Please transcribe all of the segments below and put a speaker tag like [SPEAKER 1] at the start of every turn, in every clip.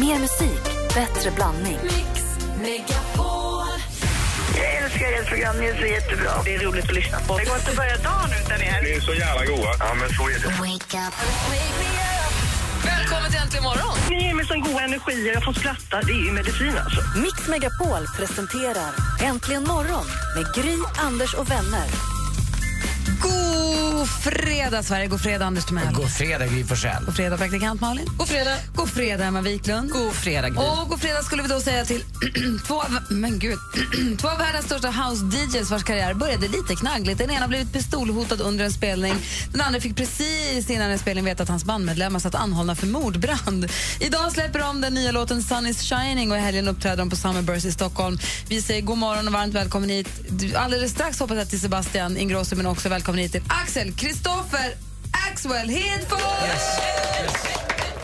[SPEAKER 1] Mer musik, bättre blandning.
[SPEAKER 2] Mix Megapol.
[SPEAKER 3] Jag älskar ert program, ni är så jättebra. Det är roligt att lyssna på. Det går inte att börja dagen utan er.
[SPEAKER 4] Ni är så jävla goa. Ja, men så är det.
[SPEAKER 2] Välkommen till Äntligen morgon!
[SPEAKER 3] Ni ger mig sån god energi, jag får skratta. Det är ju medicin alltså.
[SPEAKER 1] Mix Megapol presenterar Äntligen morgon med Gry, Anders och vänner.
[SPEAKER 5] God fredag, Sverige! God fredag, Anders Timell.
[SPEAKER 6] God fredag, Gry Forssell.
[SPEAKER 5] God fredag, praktikant Malin. God fredag. God fredag, Emma Wiklund. God fredag, Gry. Och god fredag skulle vi då säga till två, av, men gud, två av världens största house-DJs vars karriär började lite knaggligt. Den ena har blivit pistolhotad under en spelning. Den andra fick precis innan en spelning veta att hans bandmedlemmar satt anhållna för mordbrand. Idag släpper de den nya låten Sun is shining och i helgen uppträder de på Summerburst i Stockholm. Vi säger god morgon och varmt välkommen hit. Du- Alldeles strax hoppas jag till Sebastian Ingrosso men också välkommen hit till Axel Kristoffer Axwell Hedfors!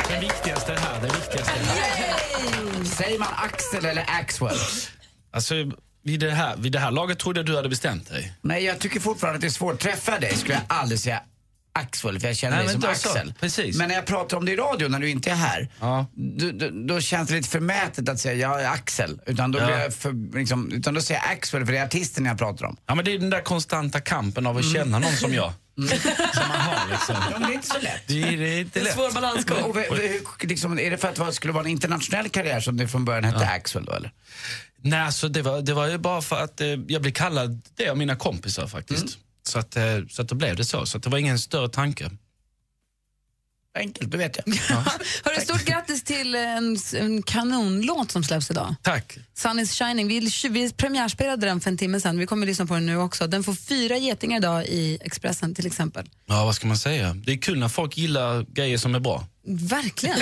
[SPEAKER 7] Den viktigaste här, den viktigaste.
[SPEAKER 6] Säger man Axel eller Axwell?
[SPEAKER 7] Alltså, vid det, här, vid det här laget trodde jag du hade bestämt dig.
[SPEAKER 6] Nej, jag tycker fortfarande att det är svårt. Träffa dig skulle jag aldrig säga Axwell, för jag känner
[SPEAKER 7] Nej,
[SPEAKER 6] dig
[SPEAKER 7] men
[SPEAKER 6] som
[SPEAKER 7] då så.
[SPEAKER 6] Axel.
[SPEAKER 7] Precis.
[SPEAKER 6] Men när jag pratar om det i radio när du inte är här,
[SPEAKER 7] Ja.
[SPEAKER 6] du, du, då känns det lite förmätet att säga jag är Axel. Utan då,
[SPEAKER 7] Ja.
[SPEAKER 6] blir jag för, liksom, utan då säger jag Axwell, för det är artisten jag pratar om.
[SPEAKER 7] Ja, men det är den där konstanta kampen av att känna någon som jag. Som man har liksom.
[SPEAKER 6] Ja, men det är inte så lätt.
[SPEAKER 7] Det är, Mm. det är inte lätt.
[SPEAKER 6] Och, och, hur, liksom, är det för att det skulle vara en internationell karriär som det från början hette Axwell då eller?
[SPEAKER 7] Nej, alltså, det, var, det var ju bara för att eh, jag blev kallad det av mina kompisar faktiskt. Så, att, eh, så att då blev det så. Så att det var ingen större tanke.
[SPEAKER 6] Enkelt, det vet jag.
[SPEAKER 5] Hörru, stort grattis till en, en kanonlåt som släpps idag.
[SPEAKER 7] Tack.
[SPEAKER 5] Sun is shining. Vi, vi premiärspelade den för en timme sedan. Vi kommer att lyssna på den nu också. Den får fyra getingar idag i Expressen till exempel.
[SPEAKER 7] Ja, vad ska man säga? Det är kul när folk gillar grejer som är bra.
[SPEAKER 5] Verkligen.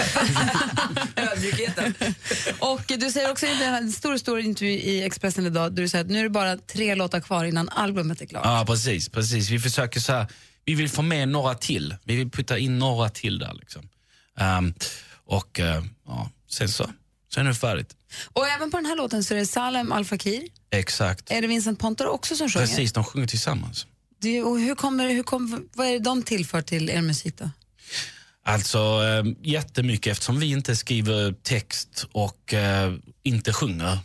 [SPEAKER 5] Och du säger också i en stor, stor intervju i Expressen idag där du säger att nu är det bara tre låtar kvar innan albumet är klart.
[SPEAKER 7] Ja, precis. precis. Vi försöker så här, vi vill få med några till. Vi vill putta in några till där. Liksom. Ehm, och eh, ja, sen så, sen är det färdigt.
[SPEAKER 5] Och även på den här låten så är det Salem Al Fakir,
[SPEAKER 7] Exakt.
[SPEAKER 5] är det Vincent Pontor också som sjunger?
[SPEAKER 7] Precis, de sjunger tillsammans.
[SPEAKER 5] Du, och hur kommer, hur kommer, vad är det de tillför till er musik då?
[SPEAKER 7] Alltså eh, jättemycket eftersom vi inte skriver text och eh, inte sjunger.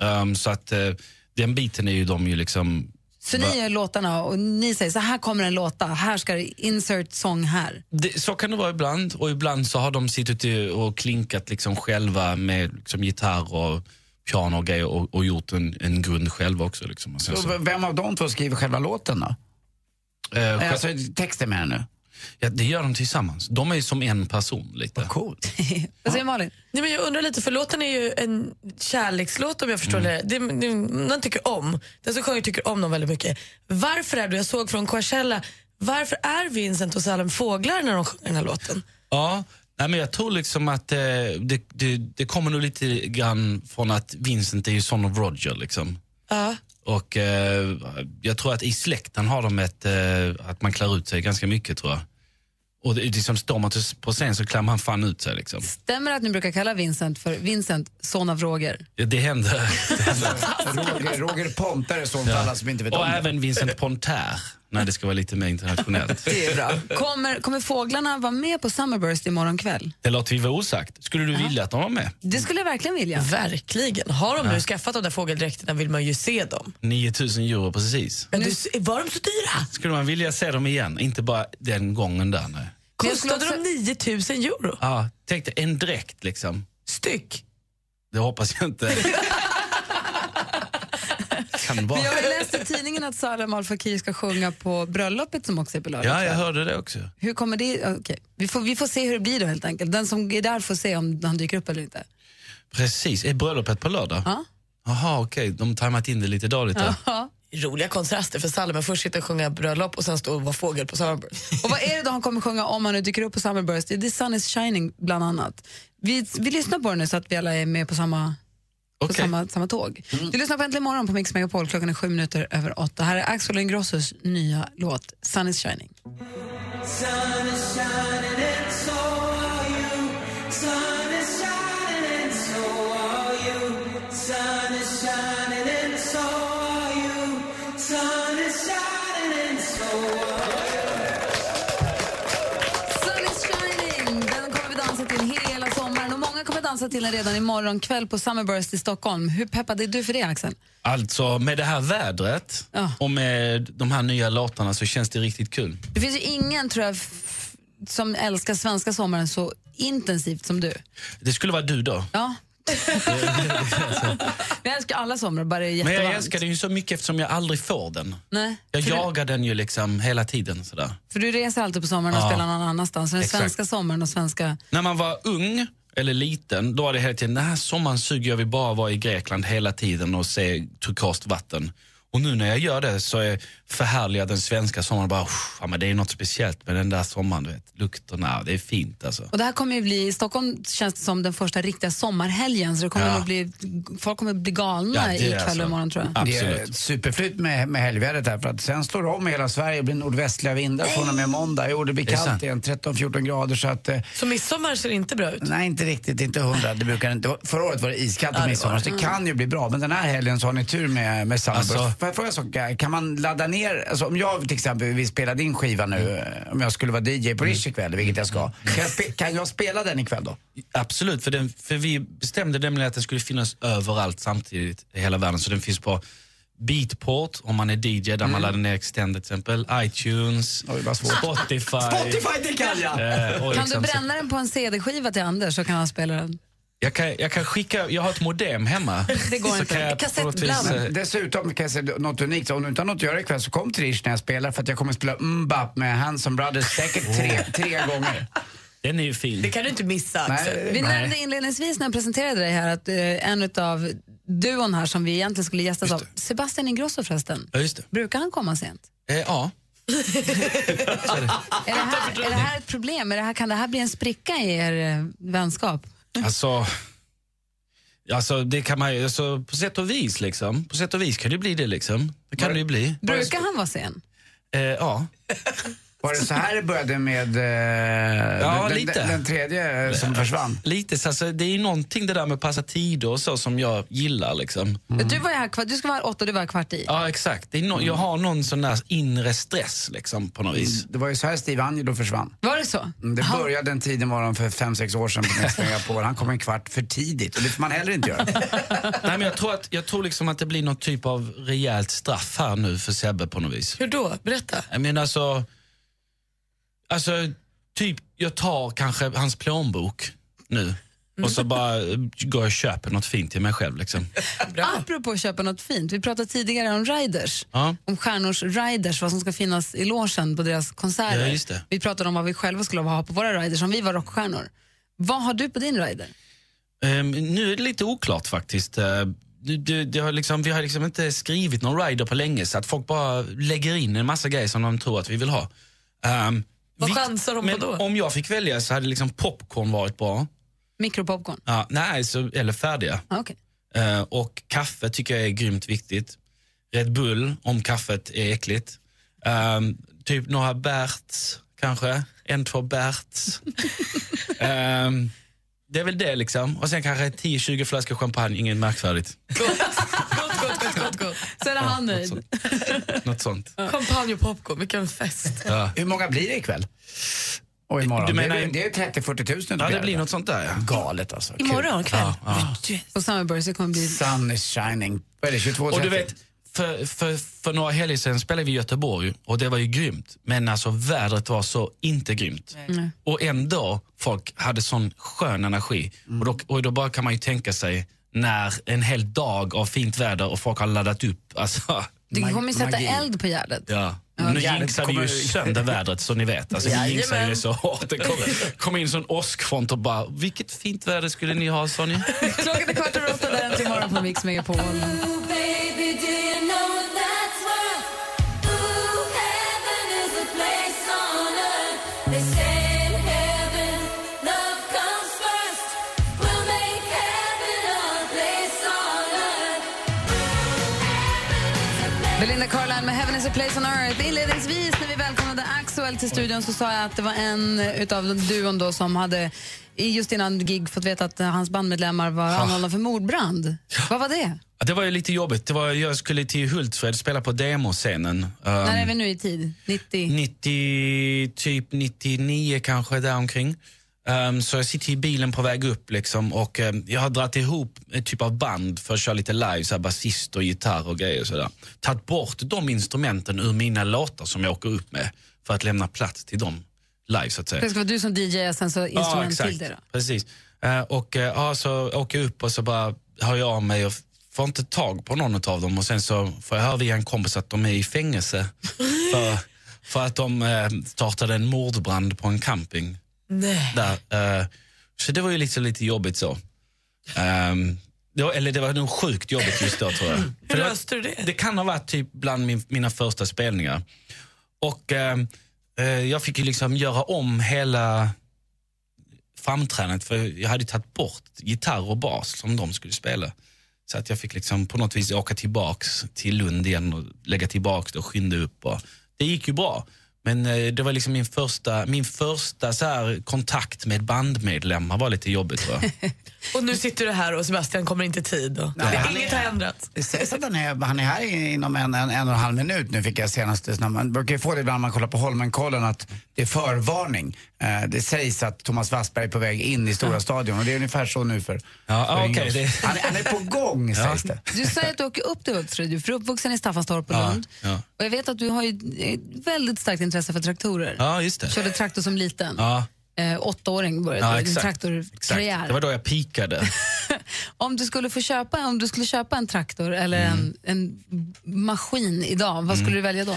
[SPEAKER 7] Ehm, så att eh, den biten är ju de ju liksom
[SPEAKER 5] Så ni gör låtarna och ni säger så här kommer en låta, här ska det insert sång här.
[SPEAKER 7] Det, så kan det vara ibland och ibland så har de suttit i- och klinkat liksom själva med liksom gitarr och piano och grejer och, och gjort en, en grund själva också. Liksom. Och sen
[SPEAKER 6] Så,
[SPEAKER 7] så,
[SPEAKER 6] v- vem av de två skriver själva låten då?
[SPEAKER 7] eh,
[SPEAKER 6] Nej,
[SPEAKER 7] själv-
[SPEAKER 6] Alltså texten menar jag nu.
[SPEAKER 7] ja, det gör de tillsammans. De är ju som en person lite.
[SPEAKER 6] Coolt.
[SPEAKER 5] Vad säger Malin?
[SPEAKER 8] Nej, men jag undrar lite, för låten är ju en kärlekslåt om jag förstår det. det. Det Man tycker om. Den som sjunger tycker om dem väldigt mycket. Varför är du, jag såg från Coachella, varför är Vincent och Salem fåglar när de sjunger den här låten?
[SPEAKER 7] Ja, nej, men jag tror liksom att eh, det, det, det kommer nog lite grann från att Vincent är ju son of Roger liksom.
[SPEAKER 8] Ja.
[SPEAKER 7] Och eh, jag tror att i släkten har de ett, eh, att man klär ut sig ganska mycket tror jag. Och det, liksom står man till- på scen så klär man fan ut sig liksom.
[SPEAKER 5] Stämmer det att ni brukar kalla Vincent för Vincent, son av Roger?
[SPEAKER 7] Ja, Det händer.
[SPEAKER 6] Roger, Roger Pontare, son för alla som inte vet om
[SPEAKER 7] Och
[SPEAKER 6] det.
[SPEAKER 7] även Vincent Pontaire, när det ska vara lite mer internationellt. Eh.
[SPEAKER 5] Kommer, kommer fåglarna vara med på Summerburst imorgon kväll?
[SPEAKER 7] Det låter vi vara osagt. Skulle du vilja att de var med?
[SPEAKER 5] Det skulle jag verkligen vilja.
[SPEAKER 8] Verkligen. Har de nu skaffat de där fågeldräkterna vill man ju se dem.
[SPEAKER 7] 9000 euro precis.
[SPEAKER 8] Men du, var de så dyra?
[SPEAKER 7] Skulle man vilja se dem igen? Inte bara den gången där. Nej.
[SPEAKER 5] Men jag skulle
[SPEAKER 8] Kostade de 9000 euro?
[SPEAKER 7] Ja, tänk dig en dräkt liksom.
[SPEAKER 8] Styck.
[SPEAKER 7] Det hoppas jag inte. kan vara.
[SPEAKER 5] Men jag läste i tidningen att Salem Al Fakir ska sjunga på bröllopet som också är på lördag.
[SPEAKER 7] Ja, jag hörde det också.
[SPEAKER 5] Hur kommer det... okej. Vi, får, vi får se hur det blir då helt enkelt. Den som är där får se om han dyker upp eller inte.
[SPEAKER 7] Precis. Är bröllopet på lördag?
[SPEAKER 5] Ja.
[SPEAKER 7] Jaha, okej. De har tajmat in det lite dåligt där.
[SPEAKER 5] Ja.
[SPEAKER 8] Roliga kontraster för Salem att först sitta och sjunga bröllop och sen stå och vara fågel på Summerburst.
[SPEAKER 5] Och vad är det då han kommer sjunga om han nu dyker upp på Summerburst? Det är Sun is shining bland annat. Vi, vi lyssnar på den nu så att vi alla är med på samma, på
[SPEAKER 7] Okej.
[SPEAKER 5] samma, samma tåg. Du lyssnar på Äntligen morgon på Mix Megapol klockan är sju minuter över åtta. Här är Axel Ingrossos nya låt Sun is shining. Sun is shining! Den kommer vi dansa till hela sommaren och många kommer dansa till den redan imorgon kväll på Summerburst i Stockholm. Hur peppad är du för det, Axel?
[SPEAKER 7] Alltså med det här vädret
[SPEAKER 5] Ja.
[SPEAKER 7] och med de här nya låtarna så känns det riktigt kul.
[SPEAKER 5] Det finns ju ingen, tror jag, f- som älskar svenska sommaren så intensivt som du.
[SPEAKER 7] Det skulle vara du då.
[SPEAKER 5] Ja. Men jag älskar alla somrar, bara det är
[SPEAKER 7] Men
[SPEAKER 5] jättevarmt.
[SPEAKER 7] jag älskar den ju så mycket eftersom jag aldrig får den.
[SPEAKER 5] Nej,
[SPEAKER 7] Jag
[SPEAKER 5] för,
[SPEAKER 7] jagar den ju liksom hela tiden sådär.
[SPEAKER 5] du, för du reser alltid på sommaren och
[SPEAKER 7] Ja.
[SPEAKER 5] spelar någon annanstans. Så Den
[SPEAKER 7] Exakt.
[SPEAKER 5] svenska sommaren och svenska...
[SPEAKER 7] När man var ung eller liten, då var det hela tiden, den här sommaren suger jag vill bara vara i Grekland hela tiden och se turkost vatten. Och nu när jag gör det så är förhärligar den svenska sommaren bara, "Uff, ja, men det är något speciellt med den där sommaren, du vet. Lukterna, det är fint alltså.
[SPEAKER 5] Och det här kommer ju bli, i Stockholm känns det som den första riktiga sommarhelgen så det kommer
[SPEAKER 7] Ja.
[SPEAKER 5] nog bli, folk kommer bli
[SPEAKER 7] Ja,
[SPEAKER 5] galna
[SPEAKER 7] det
[SPEAKER 5] ikväll
[SPEAKER 7] är alltså-
[SPEAKER 5] och
[SPEAKER 7] så.
[SPEAKER 5] imorgon tror jag.
[SPEAKER 7] Ja.
[SPEAKER 6] Det är
[SPEAKER 7] Absolut.
[SPEAKER 6] ett superflyt med, med helgvädret här för att sen slår det om i hela Sverige och blir nordvästliga vindar från och med måndag. Jo, det blir
[SPEAKER 7] Det är
[SPEAKER 6] kallt
[SPEAKER 7] sant.
[SPEAKER 6] igen, 13-14 grader så att eh,
[SPEAKER 8] Så midsommar ser inte bra ut.
[SPEAKER 6] Nej, inte riktigt. Inte hundra. Det brukar inte. Förra året var det iskallt på
[SPEAKER 8] det
[SPEAKER 6] midsommar, så det kan ju bli bra. Men den här helgen så har ni tur med, med Summerburst.
[SPEAKER 7] Alltså-
[SPEAKER 6] Får jag fråga en sak? Kan man ladda ner, alltså om jag till exempel, vi spelade in skivan nu, eh, om jag skulle vara DJ
[SPEAKER 7] Mm.
[SPEAKER 6] på Rish ikväll, vilket jag ska. Kan jag, spe, kan jag spela den ikväll då?
[SPEAKER 7] Absolut, för, den, för vi bestämde nämligen att den skulle finnas överallt samtidigt i hela världen. Så den finns på Beatport om man är DJ där
[SPEAKER 6] Mm.
[SPEAKER 7] man laddar ner Extend till exempel, iTunes,
[SPEAKER 6] Oj, vad svårt.
[SPEAKER 7] Spotify.
[SPEAKER 6] Spotify, det kan jag!
[SPEAKER 7] eh, och
[SPEAKER 5] Kan du
[SPEAKER 7] liksom så-
[SPEAKER 5] bränna den på en CD-skiva till Anders så kan han spela den?
[SPEAKER 7] Jag kan, jag kan skicka, jag har ett modem hemma.
[SPEAKER 5] Det går
[SPEAKER 7] Så
[SPEAKER 5] inte.
[SPEAKER 7] kan jag på något
[SPEAKER 5] Kassettbland.
[SPEAKER 7] vis, eh,
[SPEAKER 6] Men dessutom kan jag säga något unikt. Om du inte har något att göra ikväll så kom till Rish när jag spelar för att jag kommer spela Mbap med Hanson Brothers säkert tre, tre gånger.
[SPEAKER 7] Den är ju fin.
[SPEAKER 8] Det kan du inte missa Axel.
[SPEAKER 6] Nej,
[SPEAKER 5] Vi
[SPEAKER 6] nej.
[SPEAKER 5] nämnde inledningsvis när jag presenterade dig här att eh, en av duon här som vi egentligen skulle gästas av, Sebastian Ingrosso förresten,
[SPEAKER 7] Ja, just det.
[SPEAKER 5] brukar han komma sent?
[SPEAKER 7] Eh, ja. Ah,
[SPEAKER 5] Är det, här, är det här ett problem? Är det här, kan det här bli en spricka i er eh, vänskap?
[SPEAKER 7] Alltså, alltså, det kan man ju- alltså, på sätt och vis liksom. På sätt och vis kan det ju bli det liksom. Det kan det ju bli.
[SPEAKER 5] Brukar han vara sen?
[SPEAKER 7] Eh, ja.
[SPEAKER 6] Var det så här det började med eh,
[SPEAKER 7] Ja,
[SPEAKER 6] den,
[SPEAKER 7] lite.
[SPEAKER 6] Den, den tredje eh, som försvann?
[SPEAKER 7] Lite så, alltså, det är ju någonting det där med att passa tider och så som jag gillar liksom.
[SPEAKER 5] Du, var ju här, kvart- du ska vara här åtta och du var här kvart i.
[SPEAKER 7] Ja, exakt. Det är no- Jag har någon sån där inre stress liksom på något vis.
[SPEAKER 6] Det var ju så här Steve Angelo försvann.
[SPEAKER 5] Var det så?
[SPEAKER 6] Mm, Det
[SPEAKER 5] Ja.
[SPEAKER 6] började den tiden morgon för fem sex år sedan på Mix Megapol. Han kom en kvart för tidigt och det får man heller inte göra.
[SPEAKER 7] Nej, men jag tror, att, jag tror liksom att det blir någon typ av rejält straff här nu för Sebbe på något vis.
[SPEAKER 8] Hur då? Berätta.
[SPEAKER 7] Jag menar alltså, alltså typ jag tar kanske hans plånbok nu och så bara eh, går jag och köper något fint till mig själv. Liksom.
[SPEAKER 5] Apropå att köpa något fint, vi pratade tidigare om riders.
[SPEAKER 7] Ja.
[SPEAKER 5] Om stjärnors riders, vad som ska finnas i logen på deras konserter.
[SPEAKER 7] Ja, just det.
[SPEAKER 5] Vi pratade om vad vi själva skulle ha på våra riders om vi var rockstjärnor. Vad har du på din rider?
[SPEAKER 7] Ehm, nu är det lite oklart faktiskt. Eh, du, du, det har liksom, vi har liksom inte skrivit någon rider på länge så att folk bara lägger in en massa grejer som de tror att vi vill ha. Ehm,
[SPEAKER 8] Vad
[SPEAKER 7] vikt-
[SPEAKER 8] chansar de på
[SPEAKER 7] men
[SPEAKER 8] då?
[SPEAKER 7] Om jag fick välja så hade liksom popcorn varit bra.
[SPEAKER 5] Mikropopcorn?
[SPEAKER 7] Ja, nej, så, eller färdiga.
[SPEAKER 5] Ah, okay.
[SPEAKER 7] Eh, och kaffe tycker jag är grymt viktigt. Red Bull, om kaffet är äckligt. Ehm, typ några Berts, kanske. En, två Berts. Ehm, det är väl det liksom. Och sen kanske 10-20 flaskor champagne, inget märkvärdigt.
[SPEAKER 8] Gott, gott, gott, gott, gott.
[SPEAKER 5] Så är det han
[SPEAKER 7] Något
[SPEAKER 5] nöjd.
[SPEAKER 7] sånt. Något sånt.
[SPEAKER 8] Champagne och popcorn, vilken fest.
[SPEAKER 7] Ja.
[SPEAKER 6] Hur många blir det ikväll? Och imorgon?
[SPEAKER 7] Du
[SPEAKER 6] Du
[SPEAKER 7] menar-
[SPEAKER 6] menar, det är 30-40 tusen.
[SPEAKER 7] ja, det blir något sånt där ja.
[SPEAKER 6] Galet alltså. Kul.
[SPEAKER 8] Imorgon kväll.
[SPEAKER 5] På Summerburst det kommer bli...
[SPEAKER 6] Sun is shining. Vad är det, 22
[SPEAKER 7] Och du vet, för, för, för några helger sedan spelade vi i Göteborg och det var ju grymt. Men alltså vädret var så inte grymt. Och ändå, folk hade sån skön energi. Och, då, och då bara kan man ju tänka sig när en hel dag av fint väder och folk har laddat upp. Alltså,
[SPEAKER 5] Du kommer ju sätta
[SPEAKER 6] magi.
[SPEAKER 5] eld på Gärdet.
[SPEAKER 7] ja. Nu
[SPEAKER 6] Gärdet
[SPEAKER 7] jinxar vi
[SPEAKER 6] kommer-
[SPEAKER 7] ju sönder vädret så ni vet. Alltså, vi jinxar ju det så hårt. Det kom, kom in sån åskfront och bara, vilket fint väder skulle ni ha sa ni?
[SPEAKER 5] Klockan är kvart över åtta, där är Äntligen morgon på Mix Megapol. Belinda Carlisle med Heaven is a place on earth. Inledningsvis när vi välkomnade Axel till studion så sa jag att det var en utav den duon då som hade i- just innan gig fått veta att eh, hans bandmedlemmar var anhållna för mordbrand. Vad var det?
[SPEAKER 7] Ja, Det var ju lite jobbigt. Det var, jag skulle till Hultsfred spela på demoscenen. Um,
[SPEAKER 5] När är vi nu i tid? 90?
[SPEAKER 7] 90, typ 99 kanske däromkring. Ehm, så jag sitter i bilen på väg upp liksom, och ehm, jag har dragit ihop ett typ av band för att köra lite live, så här basist och gitarr och grejer. och sådär. Tagit bort de instrumenten ur mina låtar som jag åker upp med för att lämna plats till dem live så att säga.
[SPEAKER 5] Det ska vara du som DJ och sen så
[SPEAKER 7] Ja,
[SPEAKER 5] instrument till det då.
[SPEAKER 7] Precis. Eh, och eh, ja, så åker jag upp och så bara hör jag av mig och f- får inte tag på någon av dem och sen så får jag höra via en kompis att de är i fängelse för, för att de eh, startade en mordbrand på en camping.
[SPEAKER 8] Nej.
[SPEAKER 7] Där, eh, så det var ju liksom lite jobbigt så. Ehm, det var, eller det var nog sjukt jobbigt just då tror jag. För
[SPEAKER 8] Hur
[SPEAKER 7] det var-
[SPEAKER 8] löste du det?
[SPEAKER 7] det kan ha varit typ bland min, mina första spelningar. Och eh, eh, jag fick ju liksom göra om hela framträdandet för jag hade ju tagit bort gitarr och bas som de skulle spela. Så att jag fick liksom på något vis åka tillbaks till Lund igen och lägga tillbaks det och skynda upp. Och det gick ju bra. Men eh, det var liksom min första, min första så här kontakt med bandmedlemmar var lite jobbigt tror jag.
[SPEAKER 8] Och nu sitter du här och Sebastian kommer inte i tid. Och
[SPEAKER 6] Nej, han
[SPEAKER 8] Inget
[SPEAKER 6] är-
[SPEAKER 8] har ändrats.
[SPEAKER 6] Det sägs att han är, han är här inom en, en, en och en halv minut nu fick jag senaste. snabbt. Man brukar ju få det ibland när man kollar på Holmenkollen att det är förvarning. Eh, det sägs att Thomas Wassberg är på väg in i Stora Stadion och det är ungefär så nu för,
[SPEAKER 7] Ja,
[SPEAKER 6] för
[SPEAKER 7] ah,
[SPEAKER 6] Inge
[SPEAKER 7] okej,
[SPEAKER 6] Olsson.
[SPEAKER 7] det-
[SPEAKER 6] han, är- han är på gång sägs det.
[SPEAKER 5] Du säger att du åker upp till Hultsfred, du är för uppvuxen i Staffanstorp och
[SPEAKER 7] Ja,
[SPEAKER 5] Lund.
[SPEAKER 7] ja.
[SPEAKER 5] Och jag vet att du har ju ett väldigt starkt intresse för traktorer.
[SPEAKER 7] Ja, just det.
[SPEAKER 5] Körde traktor som liten.
[SPEAKER 7] Ja,
[SPEAKER 5] Eh, åttaåring började
[SPEAKER 7] ja
[SPEAKER 5] du din
[SPEAKER 7] exakt. exakt.
[SPEAKER 5] traktorkarriär.
[SPEAKER 7] Det var då jag pikade.
[SPEAKER 5] Om du skulle få köpa, om du skulle köpa en traktor eller
[SPEAKER 7] Mm.
[SPEAKER 5] en, en maskin idag, vad skulle du välja då?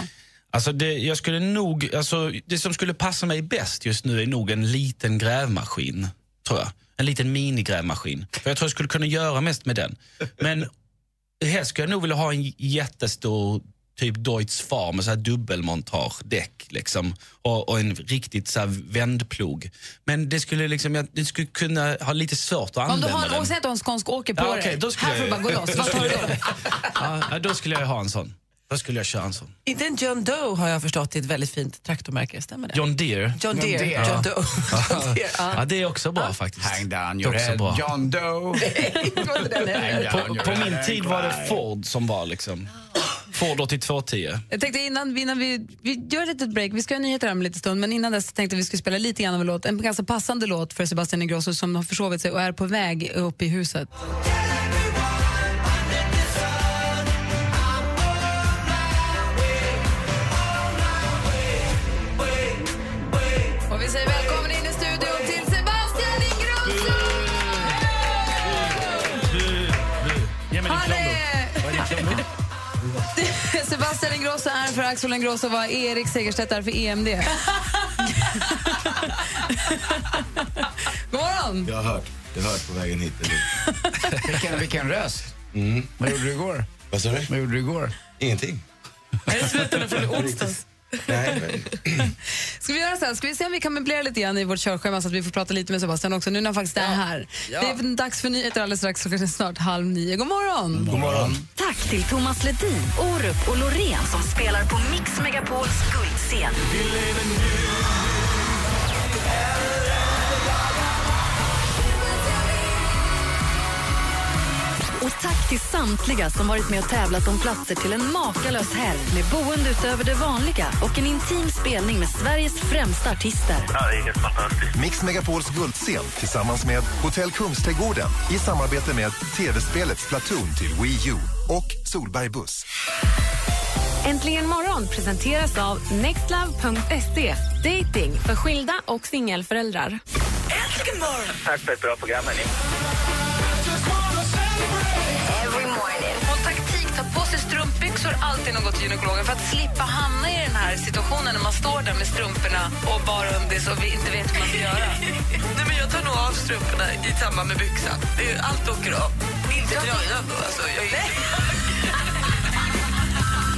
[SPEAKER 7] Alltså det, jag skulle nog, alltså det som skulle passa mig bäst just nu är nog en liten grävmaskin. Tror jag. En liten minigrävmaskin. För jag tror jag skulle kunna göra mest med den. Men här skulle jag nog vilja ha en j- jättestor typ Deutz Farm, så här dubbelmontagedäck liksom. Och, och en riktigt så här vändplog. Men det skulle liksom, jag det skulle kunna ha lite svårt att
[SPEAKER 5] Om du
[SPEAKER 7] använda
[SPEAKER 5] har en,
[SPEAKER 7] den.
[SPEAKER 5] och säg att du har en skånsk åker på
[SPEAKER 7] Ja,
[SPEAKER 5] dig.
[SPEAKER 7] okej, då skulle
[SPEAKER 5] Här får du
[SPEAKER 7] jag-
[SPEAKER 5] bara gå loss. Vad tar du då?
[SPEAKER 7] ja, ja, då skulle jag ha en sån. Då skulle jag köra en sån.
[SPEAKER 9] Inte en John Doe har jag förstått, det är ett väldigt fint traktormärke, stämmer det?
[SPEAKER 7] John Deere.
[SPEAKER 9] John Deere.
[SPEAKER 6] Deere.
[SPEAKER 9] John Doe. John Deere. Ja.
[SPEAKER 7] Ja, det är också bra faktiskt.
[SPEAKER 6] Hang down
[SPEAKER 7] Det är
[SPEAKER 6] your
[SPEAKER 7] också
[SPEAKER 6] head,
[SPEAKER 7] bra.
[SPEAKER 6] John Doe. Hang down
[SPEAKER 7] På,
[SPEAKER 6] your
[SPEAKER 7] på
[SPEAKER 6] head
[SPEAKER 7] min
[SPEAKER 6] and
[SPEAKER 7] tid var det
[SPEAKER 6] cry.
[SPEAKER 7] Ford som var liksom. Ford 8210.
[SPEAKER 5] Jag tänkte innan, innan vi, vi gör ett litet break, vi ska ha nyheter om en liten stund, men innan dess tänkte vi skulle spela lite grann av en låt, en ganska passande låt för Sebastian Ingrosso som har försovit sig och är på väg upp i huset. Och vi säger välkommen in i studion till Sebastian Ingrosso! Han är... Sebastian Ingrosso är för Axel Ingrosso vad Erik Segerstedt är för E EMD. God morgon!
[SPEAKER 10] Jag har hört. Jag har hört på vägen hit. Eller?
[SPEAKER 6] Vilken, vilken röst.
[SPEAKER 7] Mm.
[SPEAKER 6] Vad gjorde du igår?
[SPEAKER 10] Vad sa du?
[SPEAKER 6] Vad gjorde du igår?
[SPEAKER 10] Ingenting.
[SPEAKER 8] Är det slutändan från i onsdags?
[SPEAKER 10] Nej, men-
[SPEAKER 5] Ska vi göra så här? Ska vi se om vi kan möblera lite grann i vårt körschema så att vi får prata lite med Sebastian också nu när han faktiskt är här. Det är dags för nyheter alldeles strax. Klockan är snart halv nio. God morgon!
[SPEAKER 10] God morgon.
[SPEAKER 1] Tack till Thomas Ledin, Orup och Loreen som spelar på Mix Megapols guldscen. Och tack till samtliga som varit med och tävlat om platser till en makalös helg med boende utöver det vanliga och en intim spelning med Sveriges främsta artister.
[SPEAKER 4] Ja, det är helt fantastiskt.
[SPEAKER 11] Mix Megapols guldscen tillsammans med Hotell Kungsträdgården i samarbete med tv-spelet Splatoon till Wii U och Solberg Buss.
[SPEAKER 12] Äntligen morgon presenteras av nextlove.se. Dating för skilda och singelföräldrar.
[SPEAKER 4] Tack för ett bra program, hörni.
[SPEAKER 5] Hon taktik, tar på sig strumpbyxor alltid när hon går till gynekologen för att slippa hamna i den här situationen när man står där med strumporna och bara undis och inte vet hur man ska göra.
[SPEAKER 8] Nej, men jag tar nog av strumporna i samband med byxan. Det är ju- Allt åker av. Inte tröjan då. Alltså, jag är...